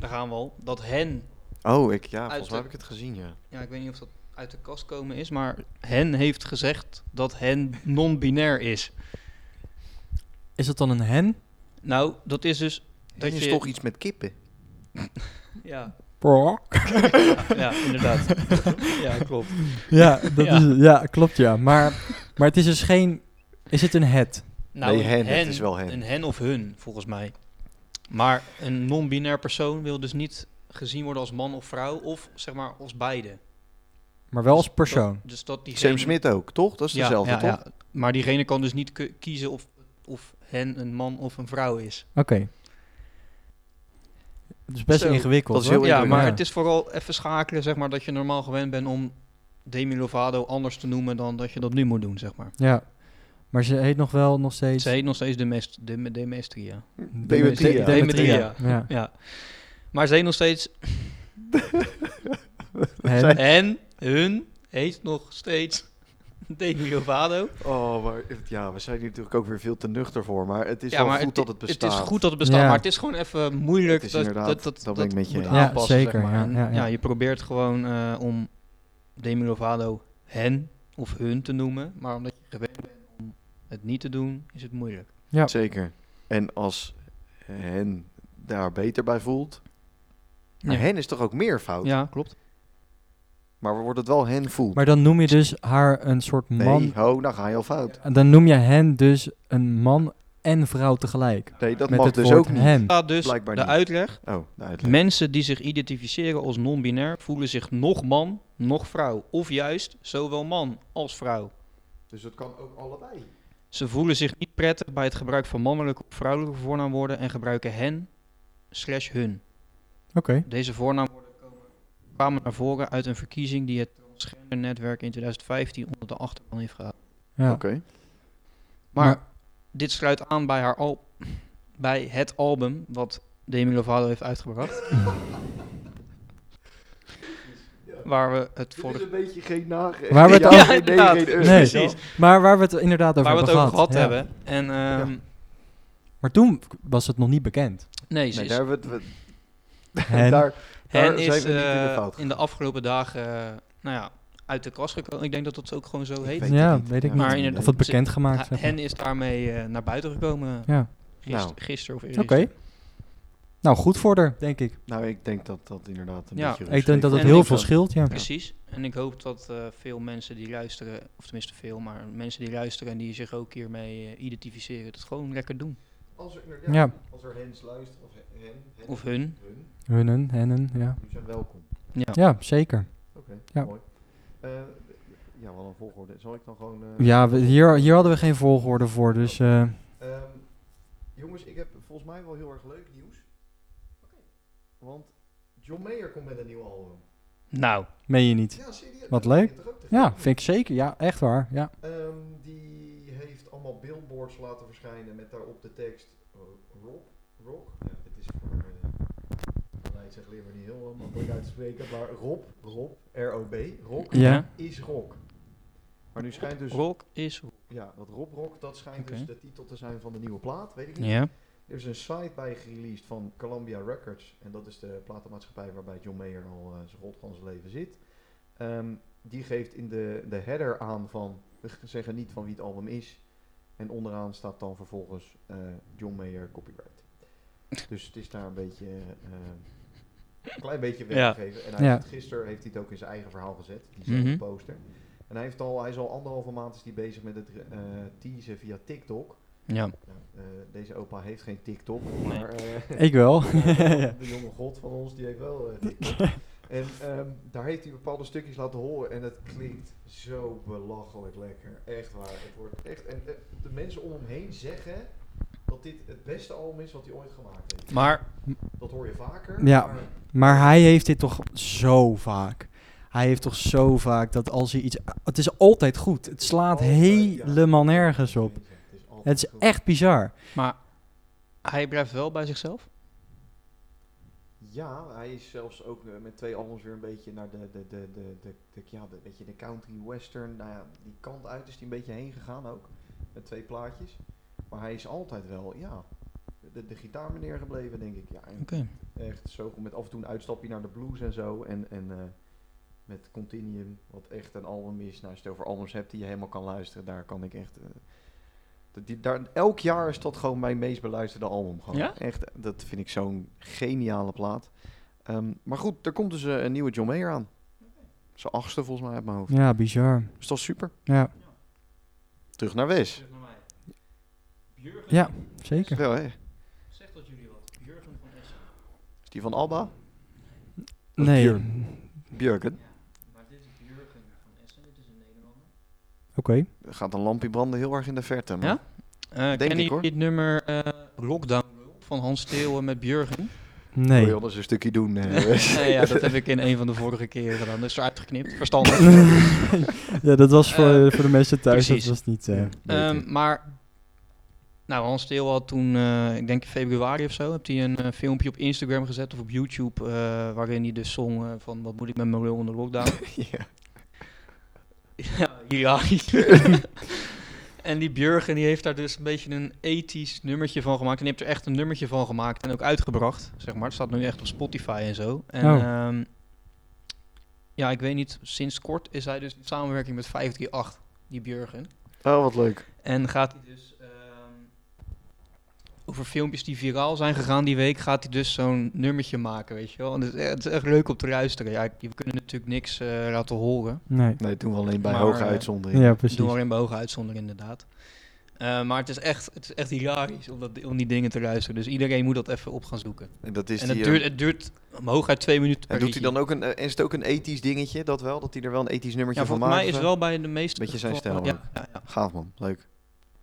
[SPEAKER 3] daar gaan we al, dat hen,
[SPEAKER 2] Oh, ik, ja, volgens
[SPEAKER 3] de-
[SPEAKER 2] mij heb ik het gezien, ja.
[SPEAKER 3] ja, ik weet niet of dat uit de kast komen is, maar hen heeft gezegd dat hen non-binair is.
[SPEAKER 1] Is dat dan een hen?
[SPEAKER 3] Nou, dat is dus
[SPEAKER 2] Dat
[SPEAKER 3] dat
[SPEAKER 2] is
[SPEAKER 3] je,
[SPEAKER 2] toch iets met kippen?
[SPEAKER 3] ja,
[SPEAKER 1] Brok.
[SPEAKER 3] ja, inderdaad. ja, klopt.
[SPEAKER 1] Ja, dat
[SPEAKER 3] Ja.
[SPEAKER 1] Is, het. ja, klopt ja. Maar, maar het is dus geen... Is het een het?
[SPEAKER 3] Nou,
[SPEAKER 2] Nee,
[SPEAKER 3] een
[SPEAKER 2] hen, het is wel hen.
[SPEAKER 3] Een hen of hun, volgens mij. Maar een non-binair persoon wil dus niet gezien worden als man of vrouw, of zeg maar als beide.
[SPEAKER 1] Maar wel als
[SPEAKER 3] Dus
[SPEAKER 1] persoon.
[SPEAKER 3] dat- dus dat diegene,
[SPEAKER 2] Sam Smith ook, toch? Dat is
[SPEAKER 3] Ja,
[SPEAKER 2] dezelfde,
[SPEAKER 3] ja,
[SPEAKER 2] toch?
[SPEAKER 3] ja. Maar diegene kan dus niet ke- kiezen of, of hen een man of een vrouw is.
[SPEAKER 1] Oké. Het is best
[SPEAKER 2] Zo,
[SPEAKER 1] ingewikkeld
[SPEAKER 2] dat is heel
[SPEAKER 1] hoor.
[SPEAKER 3] Ja,
[SPEAKER 2] ingewikkeld.
[SPEAKER 3] maar het is vooral even schakelen, zeg maar, dat je normaal gewend bent om Demi Lovato anders te noemen dan dat je dat nu moet doen, zeg maar.
[SPEAKER 1] Ja. Maar ze heet nog wel nog steeds...
[SPEAKER 3] Ze heet nog steeds Demest- Dem- Demestria.
[SPEAKER 2] Demetria.
[SPEAKER 1] Demetria. Demetria.
[SPEAKER 3] Demetria.
[SPEAKER 1] Ja.
[SPEAKER 3] Ja. Maar ze heet nog steeds
[SPEAKER 1] Hen.
[SPEAKER 3] En hun heet nog steeds Demi Lovato.
[SPEAKER 2] Oh, maar het- ja, we zijn hier natuurlijk ook weer veel te nuchter voor. Maar het is wel goed dat het bestaat.
[SPEAKER 3] is goed dat het bestaat,
[SPEAKER 1] Ja.
[SPEAKER 3] maar het is gewoon even moeilijk
[SPEAKER 2] Het is
[SPEAKER 3] dat dat,
[SPEAKER 2] inderdaad-
[SPEAKER 3] dat, dat,
[SPEAKER 2] dat ben ik met je
[SPEAKER 3] moet
[SPEAKER 2] eens.
[SPEAKER 1] Ja,
[SPEAKER 3] aanpassen.
[SPEAKER 1] zeker,
[SPEAKER 3] zeg maar.
[SPEAKER 1] ja,
[SPEAKER 3] En
[SPEAKER 1] ja, ja.
[SPEAKER 3] je probeert gewoon eh, om Demi Lovato hen of hun te noemen. Maar omdat je gewend bent om het niet te doen, is het moeilijk.
[SPEAKER 1] Ja.
[SPEAKER 2] Zeker. En als hen daar beter bij voelt. Maar
[SPEAKER 3] Ja.
[SPEAKER 2] hen is toch ook meer fout?
[SPEAKER 3] Ja, klopt.
[SPEAKER 2] Maar wordt het wel hen voelt?
[SPEAKER 1] Maar dan noem je dus haar een soort man.
[SPEAKER 2] nee, ho, dan ga je al fout.
[SPEAKER 1] En Dan noem je hen dus een man en vrouw tegelijk.
[SPEAKER 2] Nee, dat
[SPEAKER 1] met
[SPEAKER 2] mag
[SPEAKER 1] het
[SPEAKER 2] dus
[SPEAKER 1] woord
[SPEAKER 2] ook niet.
[SPEAKER 1] hen.
[SPEAKER 3] Staat dus
[SPEAKER 2] Blijkbaar
[SPEAKER 3] de
[SPEAKER 2] niet.
[SPEAKER 3] uitleg.
[SPEAKER 2] Oh, de uitleg.
[SPEAKER 3] Mensen die zich identificeren als non-binair voelen zich nog man, nog vrouw. Of juist zowel man als vrouw.
[SPEAKER 2] Dus dat kan ook allebei.
[SPEAKER 3] Ze voelen zich niet prettig bij het gebruik van mannelijke of vrouwelijke voornaamwoorden en gebruiken hen slash hun.
[SPEAKER 1] Oké.
[SPEAKER 3] Deze voornaamwoorden komen- kwamen naar voren uit een verkiezing die het transgendernetwerk in 2015 onder de achterban heeft gehaald.
[SPEAKER 1] Ja.
[SPEAKER 2] Oké.
[SPEAKER 3] Maar,
[SPEAKER 1] Maar-
[SPEAKER 3] dit sluit aan bij, haar al bij het album wat Demi Lovato heeft uitgebracht. Waar we het
[SPEAKER 2] Dit is
[SPEAKER 3] vorige
[SPEAKER 2] een beetje geen nage.
[SPEAKER 1] Waar we het
[SPEAKER 2] Ja,
[SPEAKER 1] al-
[SPEAKER 3] Ja,
[SPEAKER 2] geen
[SPEAKER 3] inderdaad.
[SPEAKER 2] nee, geen
[SPEAKER 1] Nee.
[SPEAKER 2] eh,
[SPEAKER 3] Precies.
[SPEAKER 1] Maar waar we het inderdaad over
[SPEAKER 3] waar we het
[SPEAKER 1] hebben
[SPEAKER 3] over
[SPEAKER 1] gehad.
[SPEAKER 3] gehad
[SPEAKER 1] ja.
[SPEAKER 3] hebben. En ehm,
[SPEAKER 1] Maar toen was het nog niet bekend.
[SPEAKER 3] nee, ze
[SPEAKER 2] Nee,
[SPEAKER 3] is-
[SPEAKER 2] daar hebben we het... we-
[SPEAKER 1] Hen.
[SPEAKER 2] daar, daar zijn
[SPEAKER 3] Hen is
[SPEAKER 2] we niet in de
[SPEAKER 3] eh,
[SPEAKER 2] fout.
[SPEAKER 3] in de afgelopen dagen eh, nou ja, uit de kast gekomen. Ik denk dat dat ook gewoon zo heet.
[SPEAKER 2] weet het
[SPEAKER 1] ja,
[SPEAKER 2] niet.
[SPEAKER 1] weet ik
[SPEAKER 2] Ja.
[SPEAKER 1] niet.
[SPEAKER 3] Maar inderdaad-
[SPEAKER 1] of het
[SPEAKER 3] ze-
[SPEAKER 1] bekend gemaakt
[SPEAKER 3] Ha-
[SPEAKER 1] hebben.
[SPEAKER 3] Hen is daarmee eh, naar buiten gekomen
[SPEAKER 1] Ja,
[SPEAKER 3] gister,
[SPEAKER 2] Nou.
[SPEAKER 3] gisteren of
[SPEAKER 1] oké.
[SPEAKER 3] eerder.
[SPEAKER 1] Nou, goed voor haar, denk ik.
[SPEAKER 2] Nou, ik denk dat dat inderdaad een
[SPEAKER 3] Ja,
[SPEAKER 2] beetje
[SPEAKER 1] Ik denk dat het
[SPEAKER 3] En
[SPEAKER 1] heel
[SPEAKER 3] ik
[SPEAKER 1] veel
[SPEAKER 2] dan.
[SPEAKER 1] scheelt, ja.
[SPEAKER 3] Precies. En ik hoop dat eh, veel mensen die luisteren, of tenminste veel, maar mensen die luisteren en die zich ook hiermee eh, identificeren, dat gewoon lekker doen.
[SPEAKER 2] Als er,
[SPEAKER 1] Ja. ja,
[SPEAKER 2] Als er hens luistert, of hen,
[SPEAKER 3] Of hun.
[SPEAKER 1] Hunnen, hennen, ja.
[SPEAKER 2] jullie zijn welkom.
[SPEAKER 3] Ja.
[SPEAKER 1] Ja, zeker.
[SPEAKER 2] Oké,
[SPEAKER 1] Ja.
[SPEAKER 2] mooi. Eh, ja, wat een volgorde. Zal ik dan gewoon... eh,
[SPEAKER 1] Ja, we- hier, hier hadden we geen volgorde voor, dus... eh,
[SPEAKER 2] Ehm, jongens, ik heb volgens mij wel heel erg leuk nieuws. Want John Mayer komt met een nieuw album.
[SPEAKER 3] Nou,
[SPEAKER 1] meen je niet.
[SPEAKER 2] Ja, serieus.
[SPEAKER 1] Wat
[SPEAKER 2] dat begint
[SPEAKER 1] leuk.
[SPEAKER 2] er ook te
[SPEAKER 1] Ja,
[SPEAKER 2] gebeuren.
[SPEAKER 1] vind ik zeker. Ja, echt waar. Ja.
[SPEAKER 2] Ehm, die heeft allemaal billboards laten verschijnen met daarop de tekst eh, Rob, Rock. Ja, dit is voor eh, Leid zegt leer maar niet heel makkelijk uit te spreken, maar Rob, Rob, R-O-B, Rock
[SPEAKER 1] Ja.
[SPEAKER 2] is rock. Maar nu schijnt dus,
[SPEAKER 3] rock is...
[SPEAKER 2] ja, dat Rob Rock, dat schijnt dus
[SPEAKER 3] Oké.
[SPEAKER 2] de titel te zijn van de nieuwe plaat, weet ik niet.
[SPEAKER 3] Ja.
[SPEAKER 2] Er is een site bij gereleased van Columbia Records. En dat is de platenmaatschappij waarbij John Mayer al eh, zijn rot van zijn leven zit. Ehm, die geeft in de, de header aan van, we g- zeggen niet van wie het album is. En onderaan staat dan vervolgens eh, John Mayer copyright. Dus het is daar een beetje, eh, een klein beetje weggegeven. En hij
[SPEAKER 1] Ja.
[SPEAKER 2] heeft het gisteren heeft hij het ook in zijn eigen verhaal gezet, diezelfde
[SPEAKER 3] Mhm.
[SPEAKER 2] poster. En hij, heeft al, hij is al anderhalve maand is die bezig met het eh teasen via TikTok.
[SPEAKER 3] Ja.
[SPEAKER 2] Nou, eh, deze opa heeft geen TikTok, maar eh,
[SPEAKER 1] Ik wel.
[SPEAKER 2] de jonge god van ons die heeft wel eh, TikTok. En ehm, daar heeft hij bepaalde stukjes laten horen en het klinkt zo belachelijk lekker. Echt waar. Het wordt echt, en eh, de mensen om hem heen zeggen dat dit het beste album is wat hij ooit gemaakt heeft.
[SPEAKER 3] Maar
[SPEAKER 2] Dat hoor je vaker.
[SPEAKER 1] Ja.
[SPEAKER 2] maar-
[SPEAKER 1] Maar hij heeft dit toch zo vaak. Hij heeft toch zo vaak dat als hij iets... Het is altijd goed. Het slaat
[SPEAKER 2] Altijd, ja.
[SPEAKER 1] helemaal nergens op.
[SPEAKER 2] Het is, altijd
[SPEAKER 1] Het is
[SPEAKER 2] goed.
[SPEAKER 1] echt bizar.
[SPEAKER 3] hij blijft wel bij zichzelf.
[SPEAKER 2] Ja, hij is zelfs ook eh, met twee albums weer een beetje naar de, de, de, de, de, de- ja, de, beetje de country western, nou ja, die kant uit is hij een beetje heen gegaan ook. Met twee plaatjes. Maar hij is altijd wel, ja, de, de gitaarmeneer gebleven, denk ik. Ja, en
[SPEAKER 3] Oké.
[SPEAKER 2] echt zo met af en toe een uitstapje naar de blues en zo. En, en eh, met Continuum, wat echt een album is. Nou, als je het over albums hebt die je helemaal kan luisteren, daar kan ik echt... eh, dat die, daar, elk jaar is dat gewoon mijn meest beluisterde album. Gewoon.
[SPEAKER 3] Ja?
[SPEAKER 2] Echt, dat vind ik zo'n geniale plaat. Ehm, maar goed, er komt dus eh, een nieuwe John Mayer aan. Zijn achtste volgens mij uit mijn hoofd.
[SPEAKER 1] Ja, bizar.
[SPEAKER 2] Dus dat is super.
[SPEAKER 1] Ja,
[SPEAKER 2] Terug naar Wes.
[SPEAKER 1] ja zeker.
[SPEAKER 2] Wel, hè?
[SPEAKER 3] Zeg dat jullie wat. Jurgen van Essen.
[SPEAKER 2] Is die van Alba? Dat is
[SPEAKER 1] Nee. Oké.
[SPEAKER 2] Björn. Björken.
[SPEAKER 3] Maar dit is Jurgen van Essen, dit is een Nederlander.
[SPEAKER 2] Er gaat een lampje branden heel erg in de verte. maar-
[SPEAKER 3] Ja? Eh, Ken
[SPEAKER 2] Denk
[SPEAKER 3] kennen
[SPEAKER 2] ik, hoor.
[SPEAKER 3] jullie het nummer eh, Lockdown van Hans Steeuwen met Björgen?
[SPEAKER 2] Wil je
[SPEAKER 1] Nee.
[SPEAKER 2] anders een stukje doen? eh, Wes?
[SPEAKER 3] nee, ja, dat heb ik in een van de vorige keren gedaan. Dus eruit geknipt. Verstandig.
[SPEAKER 1] ja, dat was voor,
[SPEAKER 3] Eh,
[SPEAKER 1] voor de mensen thuis.
[SPEAKER 3] precies.
[SPEAKER 1] Dat was niet... eh,
[SPEAKER 3] Ehm, maar, nou, Hans Steel had toen, eh, ik denk in februari of zo, heeft hij een eh, filmpje op Instagram gezet of op YouTube, eh, waarin hij dus zong eh, van wat moet ik met mijn lul onder lockdown.
[SPEAKER 2] ja.
[SPEAKER 3] ja, ja. en die Björgen die heeft daar dus een beetje een ethisch nummertje van gemaakt. En die heeft er echt een nummertje van gemaakt en ook uitgebracht, zeg maar. Het staat nu echt op Spotify en zo. En,
[SPEAKER 1] Oh.
[SPEAKER 3] ehm, Ja, ik weet niet, sinds kort is hij dus in samenwerking met 538, die Björgen.
[SPEAKER 2] Oh, wat leuk.
[SPEAKER 3] En gaat hij dus ehm, over filmpjes die viraal zijn gegaan die week, gaat hij dus zo'n nummertje maken, weet je wel. En het, is, het is echt leuk om te luisteren. Ja, ik- we kunnen natuurlijk niks eh, laten horen.
[SPEAKER 1] Nee.
[SPEAKER 2] Nee, doen we alleen bij
[SPEAKER 3] Maar,
[SPEAKER 2] hoge
[SPEAKER 3] eh,
[SPEAKER 2] uitzondering.
[SPEAKER 1] Ja,
[SPEAKER 3] Precies. Doen
[SPEAKER 1] precies.
[SPEAKER 3] we in behogen uitzondering inderdaad. Eh, maar het is echt, het is echt hilarisch om, dat, om die dingen te luisteren. Dus iedereen moet dat even op gaan zoeken.
[SPEAKER 2] En dat is
[SPEAKER 3] en
[SPEAKER 2] die,
[SPEAKER 3] het
[SPEAKER 2] eh,
[SPEAKER 3] duurt, het duurt hooguit twee minuten per
[SPEAKER 2] en doet hij
[SPEAKER 3] liedje.
[SPEAKER 2] dan ook een, eh, is het ook een ethisch dingetje, dat wel? Dat hij er wel een ethisch nummertje
[SPEAKER 3] Ja,
[SPEAKER 2] van
[SPEAKER 3] volgens
[SPEAKER 2] maakt?
[SPEAKER 3] mij is
[SPEAKER 2] of zo?
[SPEAKER 3] wel bij de meeste...
[SPEAKER 2] Beetje zijn
[SPEAKER 3] gevallen-
[SPEAKER 2] stijl
[SPEAKER 3] Ja, ja, ja.
[SPEAKER 2] Gaaf man, leuk.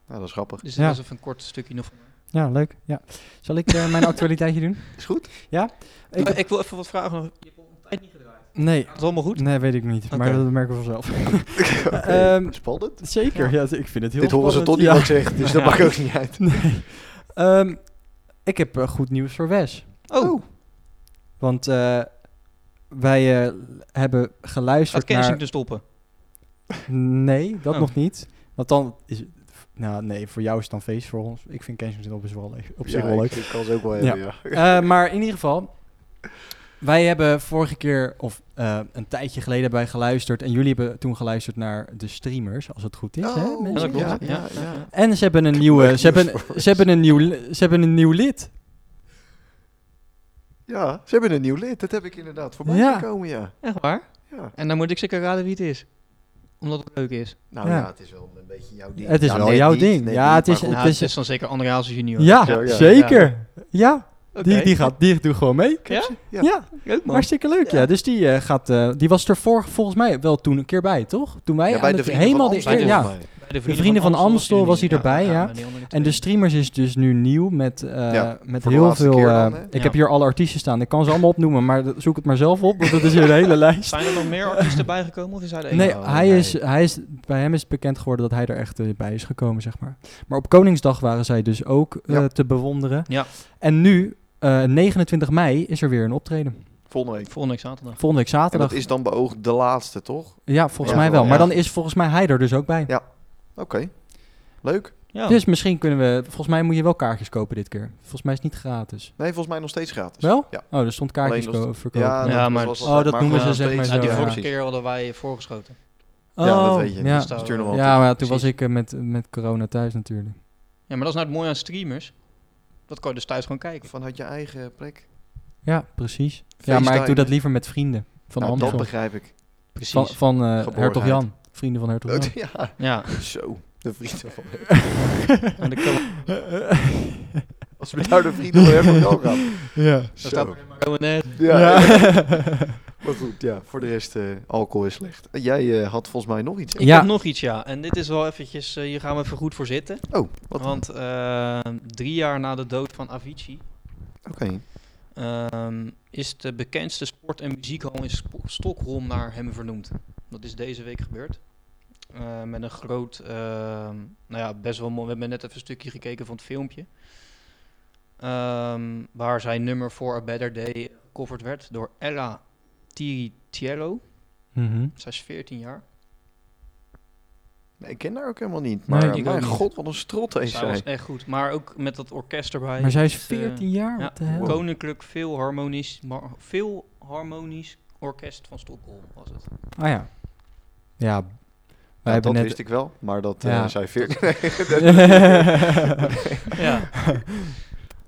[SPEAKER 2] Nou, dat is grappig.
[SPEAKER 3] Dus
[SPEAKER 1] Ja.
[SPEAKER 3] dat is even een kort stukje nog.
[SPEAKER 1] Ja, leuk. Ja. Zal ik eh, mijn actualiteitje doen?
[SPEAKER 2] Is goed?
[SPEAKER 1] Ik-
[SPEAKER 3] Eh, ik wil even wat vragen. Je hebt al een tijd niet gedraaid.
[SPEAKER 1] Nee.
[SPEAKER 3] Gaat het allemaal goed?
[SPEAKER 1] Nee, weet ik niet. Maar
[SPEAKER 3] Oké.
[SPEAKER 1] dat merken we vanzelf.
[SPEAKER 2] Oké,
[SPEAKER 1] Ehm,
[SPEAKER 2] Spannend.
[SPEAKER 1] Zeker. Ja. ik vind het heel
[SPEAKER 2] Dit horen ze
[SPEAKER 1] spannend.
[SPEAKER 2] toch niet
[SPEAKER 1] Ja.
[SPEAKER 2] wat ik zeg, dus dat
[SPEAKER 3] Ja.
[SPEAKER 2] maakt ook niet uit.
[SPEAKER 1] Nee. Ehm, ik heb eh, goed nieuws voor Wes.
[SPEAKER 3] Oh,
[SPEAKER 1] Want eh, wij eh, hebben
[SPEAKER 3] gaat
[SPEAKER 1] geluisterd naar...
[SPEAKER 3] Kensington dus stoppen?
[SPEAKER 1] Nee, dat
[SPEAKER 3] Oh.
[SPEAKER 1] nog niet. Want dan is het... Nou nee, voor jou is het dan feest voor ons. Ik vind Kensington op, is wel leuk- op zich
[SPEAKER 2] Ja,
[SPEAKER 1] wel
[SPEAKER 2] ik-
[SPEAKER 1] leuk.
[SPEAKER 2] Ik kan ze ook wel hebben, ja.
[SPEAKER 1] Eh, maar in ieder geval, wij hebben vorige keer, of eh, een tijdje geleden hebben wij geluisterd. En jullie hebben toen geluisterd naar de streamers, als het goed is. hè,
[SPEAKER 2] Oh,
[SPEAKER 1] mensen?
[SPEAKER 2] ja,
[SPEAKER 3] klopt.
[SPEAKER 2] ja,
[SPEAKER 3] Ja,
[SPEAKER 2] ja.
[SPEAKER 1] En ze hebben een nieuwe,
[SPEAKER 2] Echt
[SPEAKER 1] ze hebben,
[SPEAKER 2] nieuws voor
[SPEAKER 1] ze hebben een nieuw, li- ze hebben een nieuw lid.
[SPEAKER 2] Ja, ze hebben een nieuw lid. Dat heb ik inderdaad voorbij
[SPEAKER 1] Ja.
[SPEAKER 2] gekomen, ja.
[SPEAKER 3] Echt waar?
[SPEAKER 2] ja.
[SPEAKER 3] En dan moet ik zeker raden wie het is. Omdat het leuk is.
[SPEAKER 2] Nou
[SPEAKER 1] Ja.
[SPEAKER 2] ja. het is wel een beetje jouw ding.
[SPEAKER 1] Het is
[SPEAKER 2] Ja,
[SPEAKER 1] wel
[SPEAKER 2] net
[SPEAKER 1] jouw
[SPEAKER 2] niet,
[SPEAKER 1] ding.
[SPEAKER 2] net
[SPEAKER 1] Ja,
[SPEAKER 2] niet,
[SPEAKER 1] het
[SPEAKER 2] maar
[SPEAKER 1] is-
[SPEAKER 2] goed.
[SPEAKER 1] het
[SPEAKER 3] Nou, het is dan zeker André Hazes junior.
[SPEAKER 1] Ja,
[SPEAKER 2] Ja, ja.
[SPEAKER 1] zeker. Ja, die,
[SPEAKER 3] Oké.
[SPEAKER 1] die, gaat, die doet gewoon mee.
[SPEAKER 3] Ja?
[SPEAKER 1] Ja,
[SPEAKER 2] Ja.
[SPEAKER 3] Leuk man.
[SPEAKER 1] hartstikke leuk. Ja. Dus die, eh, gaat, eh, die was er vor, volgens mij wel toen een keer bij, toch? Toen wij
[SPEAKER 2] Ja, bij
[SPEAKER 1] aan
[SPEAKER 2] de
[SPEAKER 1] het-
[SPEAKER 2] vrienden
[SPEAKER 1] helemaal
[SPEAKER 2] van
[SPEAKER 1] de
[SPEAKER 2] Amstel,
[SPEAKER 1] eer- ja.
[SPEAKER 2] volgens mij.
[SPEAKER 3] Bij
[SPEAKER 1] vrienden van Amstel was hij erbij, ja.
[SPEAKER 3] maar die andere
[SPEAKER 1] En de
[SPEAKER 3] twee.
[SPEAKER 1] streamers is dus nu nieuw met, eh,
[SPEAKER 2] Ja,
[SPEAKER 1] met
[SPEAKER 2] voor de
[SPEAKER 1] heel
[SPEAKER 2] laatste
[SPEAKER 1] veel.
[SPEAKER 2] keer
[SPEAKER 1] eh,
[SPEAKER 2] dan, hè?
[SPEAKER 1] ik
[SPEAKER 3] Ja.
[SPEAKER 1] heb hier alle artiesten staan. Ik kan ze allemaal opnoemen, maar dat- zoek het maar zelf op, want dat is hier een hele lijst.
[SPEAKER 3] Zijn er nog meer artiesten bijgekomen of is hij de enige?
[SPEAKER 1] Nee,
[SPEAKER 2] Oh,
[SPEAKER 1] hij
[SPEAKER 2] nee.
[SPEAKER 1] is, hij is, bij hem is bekend geworden dat hij er echt eh, bij is gekomen, zeg maar. Maar op Koningsdag waren zij dus ook eh,
[SPEAKER 2] Ja.
[SPEAKER 1] te bewonderen.
[SPEAKER 3] Ja.
[SPEAKER 1] En nu, eh, 29 mei, is er weer een optreden.
[SPEAKER 2] Volgende week.
[SPEAKER 3] Volgende week zaterdag.
[SPEAKER 1] Volgende week
[SPEAKER 2] En
[SPEAKER 1] zaterdag.
[SPEAKER 2] dat is dan beoogd de laatste, toch?
[SPEAKER 1] Ja, volgens
[SPEAKER 2] Ja,
[SPEAKER 1] mij wel.
[SPEAKER 2] ja.
[SPEAKER 1] Maar dan is volgens mij hij er dus ook bij.
[SPEAKER 2] Ja. Oké. Leuk.
[SPEAKER 3] Ja.
[SPEAKER 1] Dus misschien kunnen we... Volgens mij moet je wel kaartjes kopen dit keer. Volgens mij is het niet gratis.
[SPEAKER 2] Nee, volgens mij nog steeds gratis.
[SPEAKER 1] Wel?
[SPEAKER 2] Ja.
[SPEAKER 1] Oh, er stond kaartjes
[SPEAKER 2] Alleen als-
[SPEAKER 1] ko- verkopen.
[SPEAKER 3] Ja,
[SPEAKER 2] dat-
[SPEAKER 3] maar-
[SPEAKER 2] was-
[SPEAKER 1] Oh,
[SPEAKER 2] was-
[SPEAKER 1] dat noemen
[SPEAKER 2] gewoon
[SPEAKER 1] ze
[SPEAKER 2] nog
[SPEAKER 1] zeg maar
[SPEAKER 2] steeds-
[SPEAKER 1] zo,
[SPEAKER 3] die
[SPEAKER 1] ja.
[SPEAKER 3] vorige
[SPEAKER 2] precies.
[SPEAKER 3] keer hadden wij voorgeschoten.
[SPEAKER 1] Oh,
[SPEAKER 2] Ja, dat weet je.
[SPEAKER 1] Ja,
[SPEAKER 2] Dus stuur nog wel.
[SPEAKER 1] ja maar ja, toen
[SPEAKER 3] Precies.
[SPEAKER 1] was ik eh, met, met corona thuis natuurlijk.
[SPEAKER 3] Ja, maar dat is nou het mooie aan streamers. Dat kan je dus thuis gewoon kijken.
[SPEAKER 2] Vanuit je eigen plek.
[SPEAKER 1] Ja, precies. Ja, maar ik
[SPEAKER 2] FaceTime,
[SPEAKER 1] doe dat
[SPEAKER 2] hè?
[SPEAKER 1] liever met vrienden. Van
[SPEAKER 2] nou, dat
[SPEAKER 1] Amstel.
[SPEAKER 2] begrijp ik.
[SPEAKER 3] Precies.
[SPEAKER 1] Van, van eh,
[SPEAKER 2] Geborgenheid.
[SPEAKER 1] Hertog Jan. Vrienden van Hertog Jan.
[SPEAKER 2] Ja,
[SPEAKER 3] ja.
[SPEAKER 2] zo. De vrienden van
[SPEAKER 3] En de Caro-
[SPEAKER 2] Als we nou de vrienden van Herman Jan gaan.
[SPEAKER 1] ja.
[SPEAKER 2] Zo.
[SPEAKER 3] Caronet.
[SPEAKER 2] Ja.
[SPEAKER 1] Ja.
[SPEAKER 2] Maar goed, ja. Voor de rest, eh, alcohol is slecht. Eh, Jij eh, had volgens mij nog iets.
[SPEAKER 3] Ik
[SPEAKER 1] Ja.
[SPEAKER 3] heb nog iets, ja. En dit is wel eventjes, eh, hier gaan we even goed voor zitten.
[SPEAKER 2] Oh, wat? Oké.
[SPEAKER 3] Want eh, drie jaar na de dood van Avicii ehm, is de bekendste sport- en muziekhal in Sp- Stockholm naar hem vernoemd. Dat is deze week gebeurd. Eh, met een groot, ehm, nou ja, best wel mooi. We hebben net even een stukje gekeken van het filmpje. Ehm, waar zijn nummer voor A Better Day gecoverd werd door Ella Tiritiello.
[SPEAKER 1] Mhm.
[SPEAKER 3] Zij is 14 jaar.
[SPEAKER 2] Nee, ik ken haar ook helemaal niet.
[SPEAKER 1] Nee,
[SPEAKER 2] Maar
[SPEAKER 1] ik ook
[SPEAKER 2] mijn
[SPEAKER 1] niet.
[SPEAKER 2] god, wat een strot is
[SPEAKER 3] Zij was
[SPEAKER 2] zij.
[SPEAKER 3] echt goed. Maar ook met dat orkest erbij.
[SPEAKER 1] Maar zij is
[SPEAKER 3] Echt, eh,
[SPEAKER 1] 14 jaar.
[SPEAKER 3] ja,
[SPEAKER 1] Wat de hel?
[SPEAKER 2] Wow.
[SPEAKER 3] Koninklijk veel harmonisch, mar- veel harmonisch orkest van Stockholm was het.
[SPEAKER 1] Ah ja. Ja. Wij
[SPEAKER 2] Ja,
[SPEAKER 1] hebben
[SPEAKER 2] Nou, dat
[SPEAKER 1] net...
[SPEAKER 2] wist ik wel, maar dat
[SPEAKER 1] Ja.
[SPEAKER 2] eh zij 14.
[SPEAKER 3] Ja.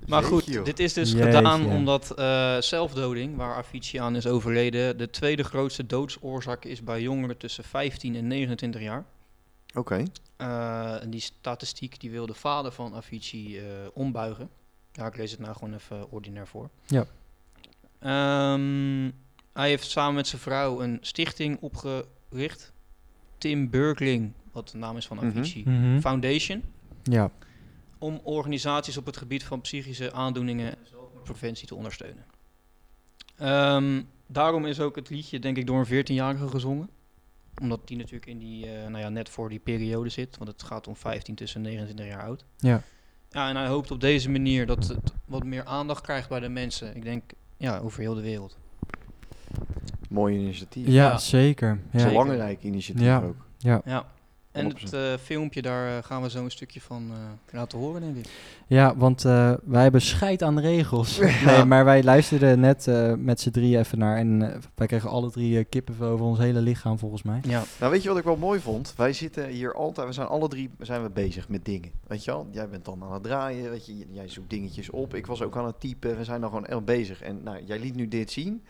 [SPEAKER 3] Maar goed,
[SPEAKER 2] Jeetje, joh.
[SPEAKER 3] dit is dus
[SPEAKER 1] Jeetje.
[SPEAKER 3] gedaan omdat eh, zelfdoding, waar Avicii aan is overleden, de tweede grootste doodsoorzaak is bij jongeren tussen 15 en 29 jaar.
[SPEAKER 2] Oké.
[SPEAKER 3] Eh, en die statistiek die wil de vader van Avicii eh, ombuigen. Ja, ik lees het nou gewoon even ordinair voor.
[SPEAKER 1] Ja.
[SPEAKER 3] Ehm, hij heeft samen met zijn vrouw een stichting opgericht. Tim Burkling, wat de naam is van
[SPEAKER 2] Mhm.
[SPEAKER 3] Avicii.
[SPEAKER 1] Mhm.
[SPEAKER 3] Foundation.
[SPEAKER 1] Ja.
[SPEAKER 3] Om organisaties op het gebied van psychische aandoeningen en zelfmoordpreventie te ondersteunen. Ehm, daarom is ook het liedje, denk ik, door een 14-jarige gezongen. Omdat die natuurlijk in die, eh, nou ja, net voor die periode zit. Want het gaat om 15 tussen 29 jaar oud.
[SPEAKER 1] Ja.
[SPEAKER 3] Ja, en hij hoopt op deze manier dat het wat meer aandacht krijgt bij de mensen. Ik denk, ja, over heel de wereld.
[SPEAKER 2] Mooi initiatief.
[SPEAKER 1] Ja,
[SPEAKER 3] Ja.
[SPEAKER 1] zeker. Ja.
[SPEAKER 3] Zeker.
[SPEAKER 2] Belangrijk initiatief
[SPEAKER 1] Ja.
[SPEAKER 2] ook.
[SPEAKER 1] Ja.
[SPEAKER 3] Ja. En het eh, filmpje, daar eh, gaan we zo een stukje van eh, laten horen, denk ik.
[SPEAKER 1] Ja, want eh, wij hebben scheid aan de regels. Nee, maar wij luisterden net eh, met z'n drieën even naar. En eh, wij kregen alle drie eh, kippenvel over ons hele lichaam, volgens mij.
[SPEAKER 3] Ja.
[SPEAKER 2] Nou, weet je wat ik wel mooi vond? Wij zitten hier altijd, we zijn alle drie zijn we bezig met dingen. Weet je wel? Jij bent dan aan het draaien, weet je, jij zoekt dingetjes op. Ik was ook aan het typen, we zijn dan gewoon echt bezig. En nou, jij liet nu dit zien.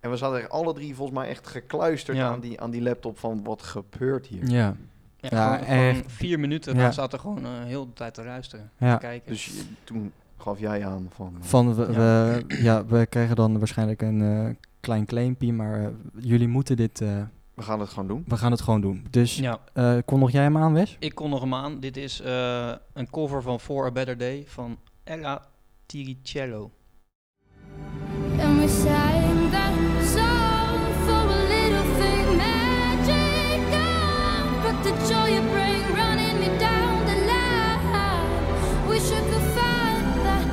[SPEAKER 2] En we zaten er alle drie volgens mij echt gekluisterd
[SPEAKER 3] Ja.
[SPEAKER 2] aan, die, aan die laptop van wat gebeurt hier.
[SPEAKER 1] Ja.
[SPEAKER 3] Ja,
[SPEAKER 1] Ja,
[SPEAKER 3] gewoon, gewoon
[SPEAKER 1] echt.
[SPEAKER 3] vier minuten,
[SPEAKER 1] Ja.
[SPEAKER 3] maar we zaten gewoon eh, heel de tijd te luisteren.
[SPEAKER 1] Ja.
[SPEAKER 3] Te kijken.
[SPEAKER 2] Dus je- toen gaf jij aan van...
[SPEAKER 1] Van we,
[SPEAKER 3] Ja.
[SPEAKER 1] we- ja, we krijgen dan waarschijnlijk een eh, klein claimpje, maar eh, jullie moeten dit, eh,
[SPEAKER 2] We gaan het gewoon doen.
[SPEAKER 1] we gaan het gewoon doen. Dus
[SPEAKER 3] ja,
[SPEAKER 1] eh kon nog jij hem aan, Wes?
[SPEAKER 3] ik kon nog hem aan. Dit is eh, een cover van For a Better Day van Ella Tiricello.
[SPEAKER 5] And we sang that song for a little thing magic Oh, But the joy you bring running me down the line Wish I could find that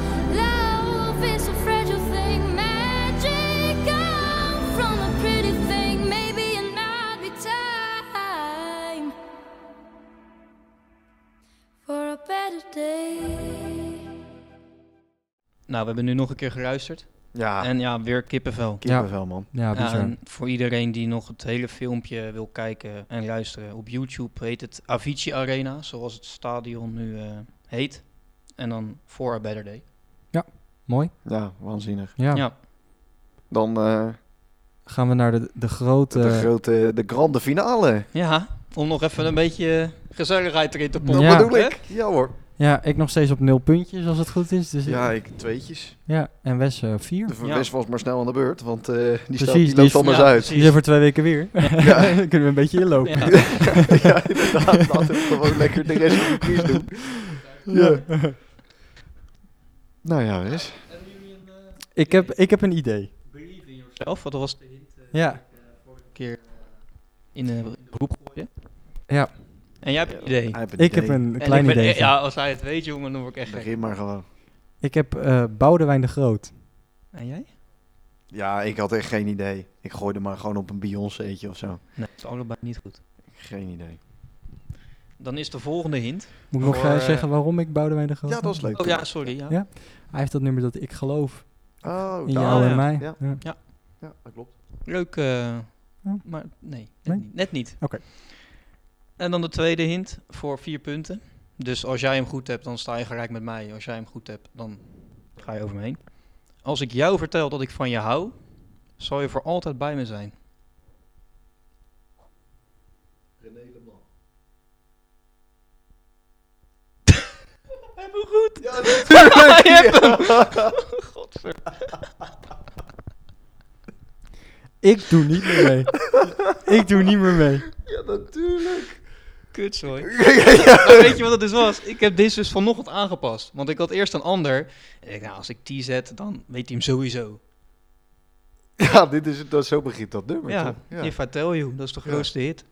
[SPEAKER 5] love is a fragile thing magic Oh, From a pretty thing maybe it might be time For a better day
[SPEAKER 3] Nou, we hebben nu nog een keer geluisterd.
[SPEAKER 2] Ja,
[SPEAKER 3] En ja, weer kippenvel.
[SPEAKER 2] kippenvel man.
[SPEAKER 1] Ja, bizar.
[SPEAKER 3] en voor iedereen die nog het hele filmpje wil kijken en luisteren, op YouTube heet het Avicii Arena, zoals het stadion nu eh, heet. En dan For a Better Day.
[SPEAKER 1] Mooi.
[SPEAKER 2] Ja, waanzinnig.
[SPEAKER 1] Ja.
[SPEAKER 3] Ja,
[SPEAKER 2] Dan eh,
[SPEAKER 1] Gaan we naar de, de grote...
[SPEAKER 2] de grote, de grande finale.
[SPEAKER 3] ja om nog even een beetje eh, gezelligheid erin te pompen.
[SPEAKER 1] Dat Ja.
[SPEAKER 2] bedoel
[SPEAKER 3] hè?
[SPEAKER 2] ik. Ja hoor.
[SPEAKER 1] ja, ik nog steeds op nul puntjes, als het goed is. Dus
[SPEAKER 2] Ja, ik tweetjes.
[SPEAKER 1] ja, en Wes eh, vier.
[SPEAKER 2] De
[SPEAKER 3] Ja.
[SPEAKER 2] Wes was maar snel aan de beurt, want eh, die, staat,
[SPEAKER 1] Precies,
[SPEAKER 2] die loopt
[SPEAKER 1] die-
[SPEAKER 2] anders
[SPEAKER 3] ja,
[SPEAKER 2] uit.
[SPEAKER 1] Die zijn voor twee weken weer. Ja. kunnen we een beetje inlopen.
[SPEAKER 3] Ja.
[SPEAKER 2] ja, inderdaad. Laten we gewoon lekker de rest van de quiz doen. Ja. Nou ja, Wes.
[SPEAKER 1] Ik, heb, ik heb een idee.
[SPEAKER 3] Zelf, wat was de hint
[SPEAKER 1] Ja.
[SPEAKER 3] een keer in de groep gooien?
[SPEAKER 1] Ja.
[SPEAKER 3] En jij hebt een idee.
[SPEAKER 1] Ik heb een
[SPEAKER 3] En
[SPEAKER 1] klein
[SPEAKER 3] ik ben-
[SPEAKER 1] idee.
[SPEAKER 3] Ja, als hij het weet, jongen, dan word ik echt gek.
[SPEAKER 2] Begin maar gewoon.
[SPEAKER 1] Ik heb eh Boudewijn de Groot.
[SPEAKER 3] En jij?
[SPEAKER 2] Ja, ik had echt geen idee. Ik gooide maar gewoon op een Beyoncé'tje of zo.
[SPEAKER 3] Nee, het is allebei niet goed.
[SPEAKER 2] Geen idee.
[SPEAKER 3] Dan is de volgende hint.
[SPEAKER 1] Moet ik nog
[SPEAKER 3] Voor,
[SPEAKER 1] eh,
[SPEAKER 3] eh,
[SPEAKER 1] zeggen waarom ik Boudewijn de Groot
[SPEAKER 2] Oh, Ja, dat is leuk.
[SPEAKER 3] Oh ja, sorry. Ja.
[SPEAKER 1] Ja. Hij heeft dat nummer dat ik geloof
[SPEAKER 2] Oh,
[SPEAKER 1] in
[SPEAKER 2] daar.
[SPEAKER 1] jou
[SPEAKER 3] ja.
[SPEAKER 1] en mij.
[SPEAKER 2] Ja.
[SPEAKER 1] Ja.
[SPEAKER 2] Ja, dat klopt.
[SPEAKER 3] Leuk, eh,
[SPEAKER 1] Ja.
[SPEAKER 3] maar nee, net
[SPEAKER 1] Nee?
[SPEAKER 3] niet. Net niet.
[SPEAKER 1] Oké.
[SPEAKER 3] En dan de tweede hint voor vier punten. Dus als jij hem goed hebt, dan sta je gelijk met mij. Als jij hem goed hebt, dan ga je over me heen. Als ik jou vertel dat ik van je hou, zal je voor altijd bij me zijn. Je hebt hem.
[SPEAKER 1] Ik doe niet meer mee. ik doe niet meer mee.
[SPEAKER 2] Ja, natuurlijk.
[SPEAKER 3] Kut, sorry. weet je wat het dus was? Ik heb deze dus vanochtend aangepast. Want ik had eerst een ander. En ik dacht, nou, als ik die zet, dan weet hij hem sowieso.
[SPEAKER 2] Ja, dit is, dat, zo begint dat nummer,
[SPEAKER 3] Ja,
[SPEAKER 2] toch?
[SPEAKER 3] if I tell you, dat is de
[SPEAKER 2] Ja.
[SPEAKER 3] grootste hit.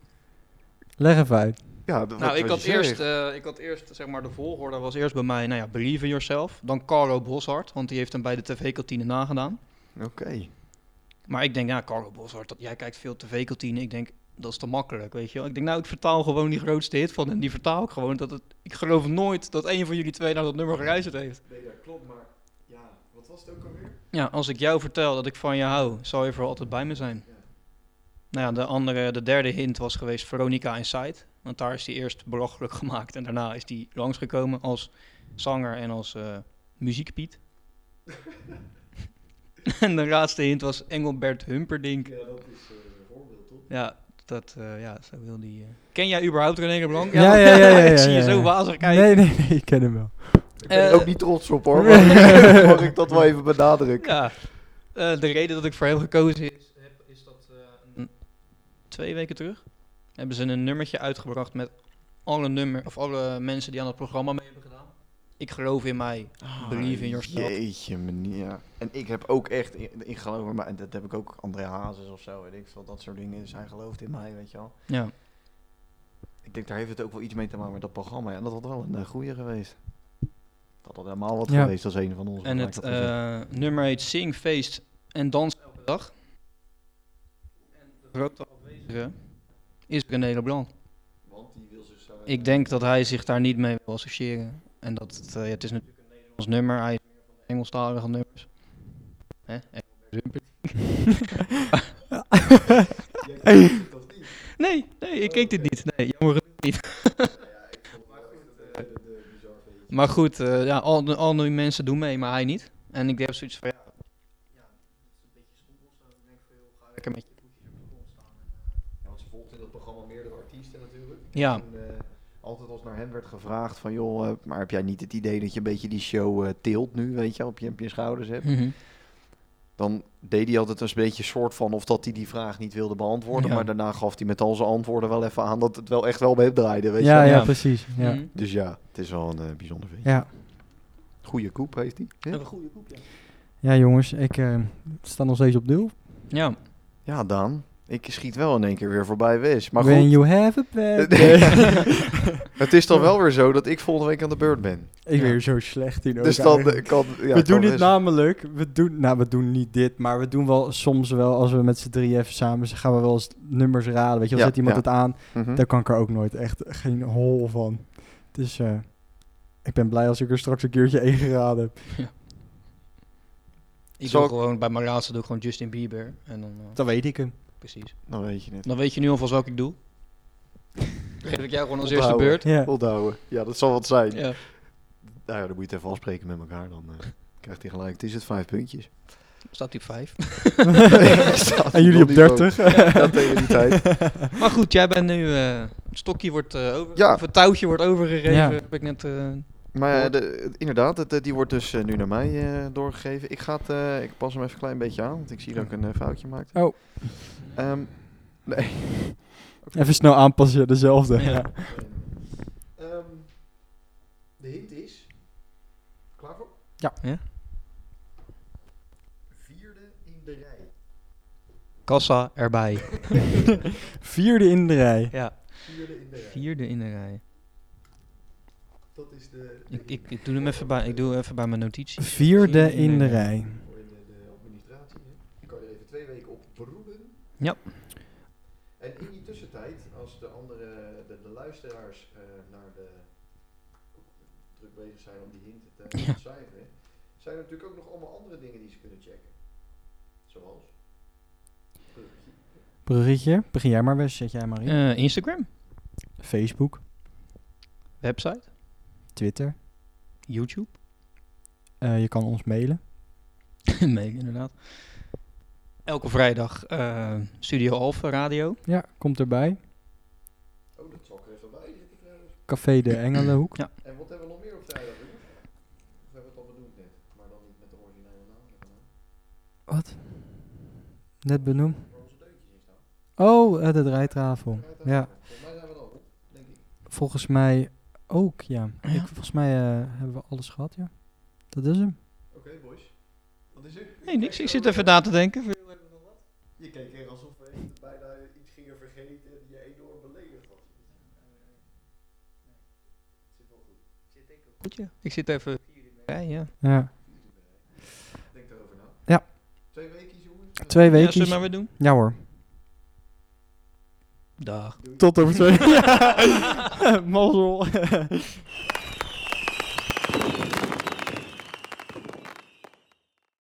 [SPEAKER 1] Leg even uit.
[SPEAKER 2] Ja, dat- wat-
[SPEAKER 3] Nou, ik
[SPEAKER 2] wat
[SPEAKER 3] had,
[SPEAKER 2] je
[SPEAKER 3] eerst,
[SPEAKER 2] zegt.
[SPEAKER 3] eh, ik had eerst, zeg maar, de volgorde was eerst bij mij, nou ja, Believe in Yourself. Dan Carlo Boshart, want die heeft hem bij de tv-kantine nagedaan.
[SPEAKER 2] Oké.
[SPEAKER 3] Maar ik denk, ja, Carlo Boshart, dat, jij kijkt veel tv-kantine. Ik denk, dat is te makkelijk, weet je wel. Ik denk, nou, ik vertaal gewoon die grootste hit van en Die vertaal ik gewoon. Dat het, ik geloof nooit dat een van jullie twee naar dat nummer geluisterd heeft.
[SPEAKER 2] Nee, dat klopt, maar... Ja, wat was het ook alweer?
[SPEAKER 3] Ja, als ik jou vertel dat ik van je hou, zal je voor altijd bij me zijn. Nou ja, de, andere, de derde hint was geweest Veronica Inside. Want daar is die eerst belachelijk gemaakt en daarna is die langsgekomen als zanger en als eh, muziekpiet. en de laatste hint was Engelbert Humperdinck. Ja, dat is eh, een voorbeeld, toch? Ja, dat, eh, ja, zo wil die... eh. Ken jij überhaupt René Leblanc?
[SPEAKER 1] Ja, ja, ja, ja, ja,
[SPEAKER 3] ik zie je
[SPEAKER 1] ja, ja.
[SPEAKER 3] zo wazig kijken.
[SPEAKER 1] Nee, nee, nee, ik ken hem wel.
[SPEAKER 2] Ik ben er
[SPEAKER 3] Eh,
[SPEAKER 2] ook niet trots op, hoor. Maar mag ik dat wel even benadrukken?
[SPEAKER 3] Ja. Eh, de reden dat ik voor hem gekozen is, heb, is dat eh, een- twee weken terug hebben ze een nummertje uitgebracht met alle, nummer, of alle mensen die aan het programma mee hebben gedaan. Ik geloof in mij.
[SPEAKER 2] Ah,
[SPEAKER 3] Believe in yourself.
[SPEAKER 2] Jeetje, meneer. Ja. En ik heb ook echt in, in geloof in mij. En dat heb ik ook André Hazes of zo, weet ik veel. Dat soort dingen. Dus hij gelooft in mij, weet je wel.
[SPEAKER 3] Ja.
[SPEAKER 2] Ik denk, daar heeft het ook wel iets mee te maken met dat programma. En dat had wel een eh, goeie geweest. Dat had helemaal wat
[SPEAKER 1] Ja.
[SPEAKER 2] geweest als een van ons.
[SPEAKER 3] En
[SPEAKER 2] Maar
[SPEAKER 3] het
[SPEAKER 2] ik had gezegd,
[SPEAKER 3] eh, nummer heet Sing, Feest en Dans elke dag. En de grote afwezige is René Leblanc.
[SPEAKER 2] Want die wil
[SPEAKER 3] ik denk dat hij zich daar niet mee wil associëren. En dat het, eh, ja, het is natuurlijk een Nederlands nummer, hij is meer van de Engelstalige nummers. Hè? nee, nee, ik keek dit niet. Nee, jammer genoeg niet. maar goed, eh, ja, al, al die mensen doen mee, maar hij niet. En ik heb zoiets van, ja, ja, het is een beetje schoenbossen. Ik denk van, joh, ga lekker met je.
[SPEAKER 2] want ze volgt in dat programma meerdere artiesten natuurlijk.
[SPEAKER 3] Ja,
[SPEAKER 2] En, eh, altijd als naar hem werd gevraagd van, joh, eh, maar heb jij niet het idee dat je een beetje die show eh, tilt nu, weet je, op je, op je schouders hebt?
[SPEAKER 3] mhm.
[SPEAKER 2] Dan deed hij altijd een beetje soort van of dat hij die vraag niet wilde beantwoorden.
[SPEAKER 3] Ja.
[SPEAKER 2] Maar daarna gaf hij met al zijn antwoorden wel even aan dat het wel echt wel bij hem draaide, weet je
[SPEAKER 1] ja,
[SPEAKER 2] wel.
[SPEAKER 1] ja,
[SPEAKER 3] Ja.
[SPEAKER 1] precies. Ja.
[SPEAKER 3] Mhm.
[SPEAKER 2] Dus ja, het is wel een eh, bijzonder feest.
[SPEAKER 1] Ja.
[SPEAKER 2] Goeie koep heeft hij. hè?
[SPEAKER 3] Een goede groep, ja.
[SPEAKER 1] ja, jongens, ik eh, sta nog steeds op nul.
[SPEAKER 3] Ja,
[SPEAKER 2] Ja, Daan. Ik schiet wel in één keer weer voorbij Wes. Maar
[SPEAKER 1] When
[SPEAKER 2] goed,
[SPEAKER 1] you have a bad
[SPEAKER 2] Nee.
[SPEAKER 1] day.
[SPEAKER 2] het is dan wel weer zo dat ik volgende week aan de beurt ben.
[SPEAKER 1] ik
[SPEAKER 3] Ja.
[SPEAKER 1] ben zo slecht in
[SPEAKER 2] Dus
[SPEAKER 1] elkaar.
[SPEAKER 2] dan eh, kan... Ja,
[SPEAKER 1] we
[SPEAKER 2] kan
[SPEAKER 1] doen dit
[SPEAKER 2] Wes-
[SPEAKER 1] namelijk, we doen, nou we doen niet dit, maar we doen wel soms wel, als we met z'n drie even samen zijn, gaan we wel eens nummers raden. Weet je, dan
[SPEAKER 2] Ja,
[SPEAKER 1] zet iemand
[SPEAKER 2] ja.
[SPEAKER 1] het aan,
[SPEAKER 2] Mhm.
[SPEAKER 1] daar kan ik er ook nooit echt geen hol van. Dus eh, ik ben blij als ik er straks een keertje één geraden heb.
[SPEAKER 3] ik
[SPEAKER 2] Zal
[SPEAKER 3] doe
[SPEAKER 2] ik-
[SPEAKER 3] gewoon, bij mijn laatste doe ik gewoon Justin Bieber. En dan, eh,
[SPEAKER 1] Dan weet ik hem.
[SPEAKER 3] precies.
[SPEAKER 2] Dan weet je het.
[SPEAKER 3] Dan weet je nu alvast welke ik doe. Geef ik jou gewoon als eerste
[SPEAKER 2] Onthouden.
[SPEAKER 3] beurt.
[SPEAKER 1] Ja.
[SPEAKER 2] Onthouden. Ja, dat zal wat zijn.
[SPEAKER 3] Ja.
[SPEAKER 2] Nou ja, dan moet je het even afspreken met elkaar. Dan eh, krijgt hij gelijk. Het is het vijf puntjes.
[SPEAKER 3] Staat hij op vijf.
[SPEAKER 2] en
[SPEAKER 1] en jullie op 30.
[SPEAKER 2] Ja, tegen die tijd.
[SPEAKER 3] Maar goed, jij bent nu. eh, het stokje wordt eh, over.
[SPEAKER 2] Ja.
[SPEAKER 3] Of het touwtje wordt overgegeven.
[SPEAKER 1] Ja.
[SPEAKER 3] Heb ik net. eh,
[SPEAKER 2] Maar eh,
[SPEAKER 3] Hoort.
[SPEAKER 2] de- inderdaad, het, eh, die wordt dus eh, nu naar mij eh, doorgegeven. Ik, ga het, eh, ik pas hem even een klein beetje aan, want ik zie dat ik een eh, foutje maakte.
[SPEAKER 1] Oh.
[SPEAKER 2] Ehm, nee.
[SPEAKER 1] Even snel aanpassen, dezelfde.
[SPEAKER 3] Ja.
[SPEAKER 2] Ehm, de hint is... Klaar voor?
[SPEAKER 1] Ja.
[SPEAKER 3] Ja.
[SPEAKER 2] Vierde in de rij.
[SPEAKER 3] kassa erbij.
[SPEAKER 1] Vierde in de rij.
[SPEAKER 3] ja.
[SPEAKER 2] Vierde in de rij.
[SPEAKER 3] Vierde in de rij.
[SPEAKER 2] Dat is de...
[SPEAKER 3] Ik, ik, ik doe hem even bij. Ik doe even bij mijn notitie.
[SPEAKER 1] Vierde in de rij.
[SPEAKER 2] Voor in de, de administratie. Hè? Je kan er even twee weken op beroepen.
[SPEAKER 3] Ja.
[SPEAKER 2] En in die tussentijd, als de andere, de, de luisteraars eh, naar de druk bezig zijn om die hint te
[SPEAKER 3] Ja.
[SPEAKER 2] cijferen, zijn er natuurlijk ook nog allemaal andere dingen die ze kunnen checken. Zoals bruggetje.
[SPEAKER 1] Bruggetje, begin jij maar Wes, zet jij maar in.
[SPEAKER 3] Eh, Instagram,
[SPEAKER 1] Facebook,
[SPEAKER 3] website,
[SPEAKER 1] Twitter.
[SPEAKER 3] YouTube.
[SPEAKER 1] Eh, je kan ons mailen.
[SPEAKER 3] nee, inderdaad. Elke vrijdag eh, Studio Alpha Radio.
[SPEAKER 1] Ja, komt erbij.
[SPEAKER 2] Oh, dat zal ik er even bij zetten trouwens.
[SPEAKER 1] Café de Engelenhoek.
[SPEAKER 2] En wat hebben we nog meer op vrijdag? jongens? Of hebben we het al benoemd net? Maar dan niet met de originele naam. met de naam.
[SPEAKER 1] Wat? Net benoemd. Oh, eh, de draaitafel. Ja,
[SPEAKER 2] Volgens mij zijn we dan op, denk ik.
[SPEAKER 1] volgens mij ook, ja. Ik, volgens mij eh, hebben we alles gehad, ja. Dat is hem.
[SPEAKER 2] Oké, boys. Wat is er?
[SPEAKER 3] Nee, niks. Ik zit even na te denken.
[SPEAKER 2] Je keek er alsof we echt bijna iets gingen vergeten die je enorm beledigd was.
[SPEAKER 3] Goed, ja. Ik zit even. Ja, ja.
[SPEAKER 1] Ja.
[SPEAKER 2] Denk daarover na.
[SPEAKER 1] Ja.
[SPEAKER 2] Twee weken, jongens.
[SPEAKER 1] Twee
[SPEAKER 3] ja, zullen we
[SPEAKER 1] weken.
[SPEAKER 3] maar weer doen?
[SPEAKER 1] Ja hoor.
[SPEAKER 3] Dag.
[SPEAKER 1] Tot over twee. Mazzel.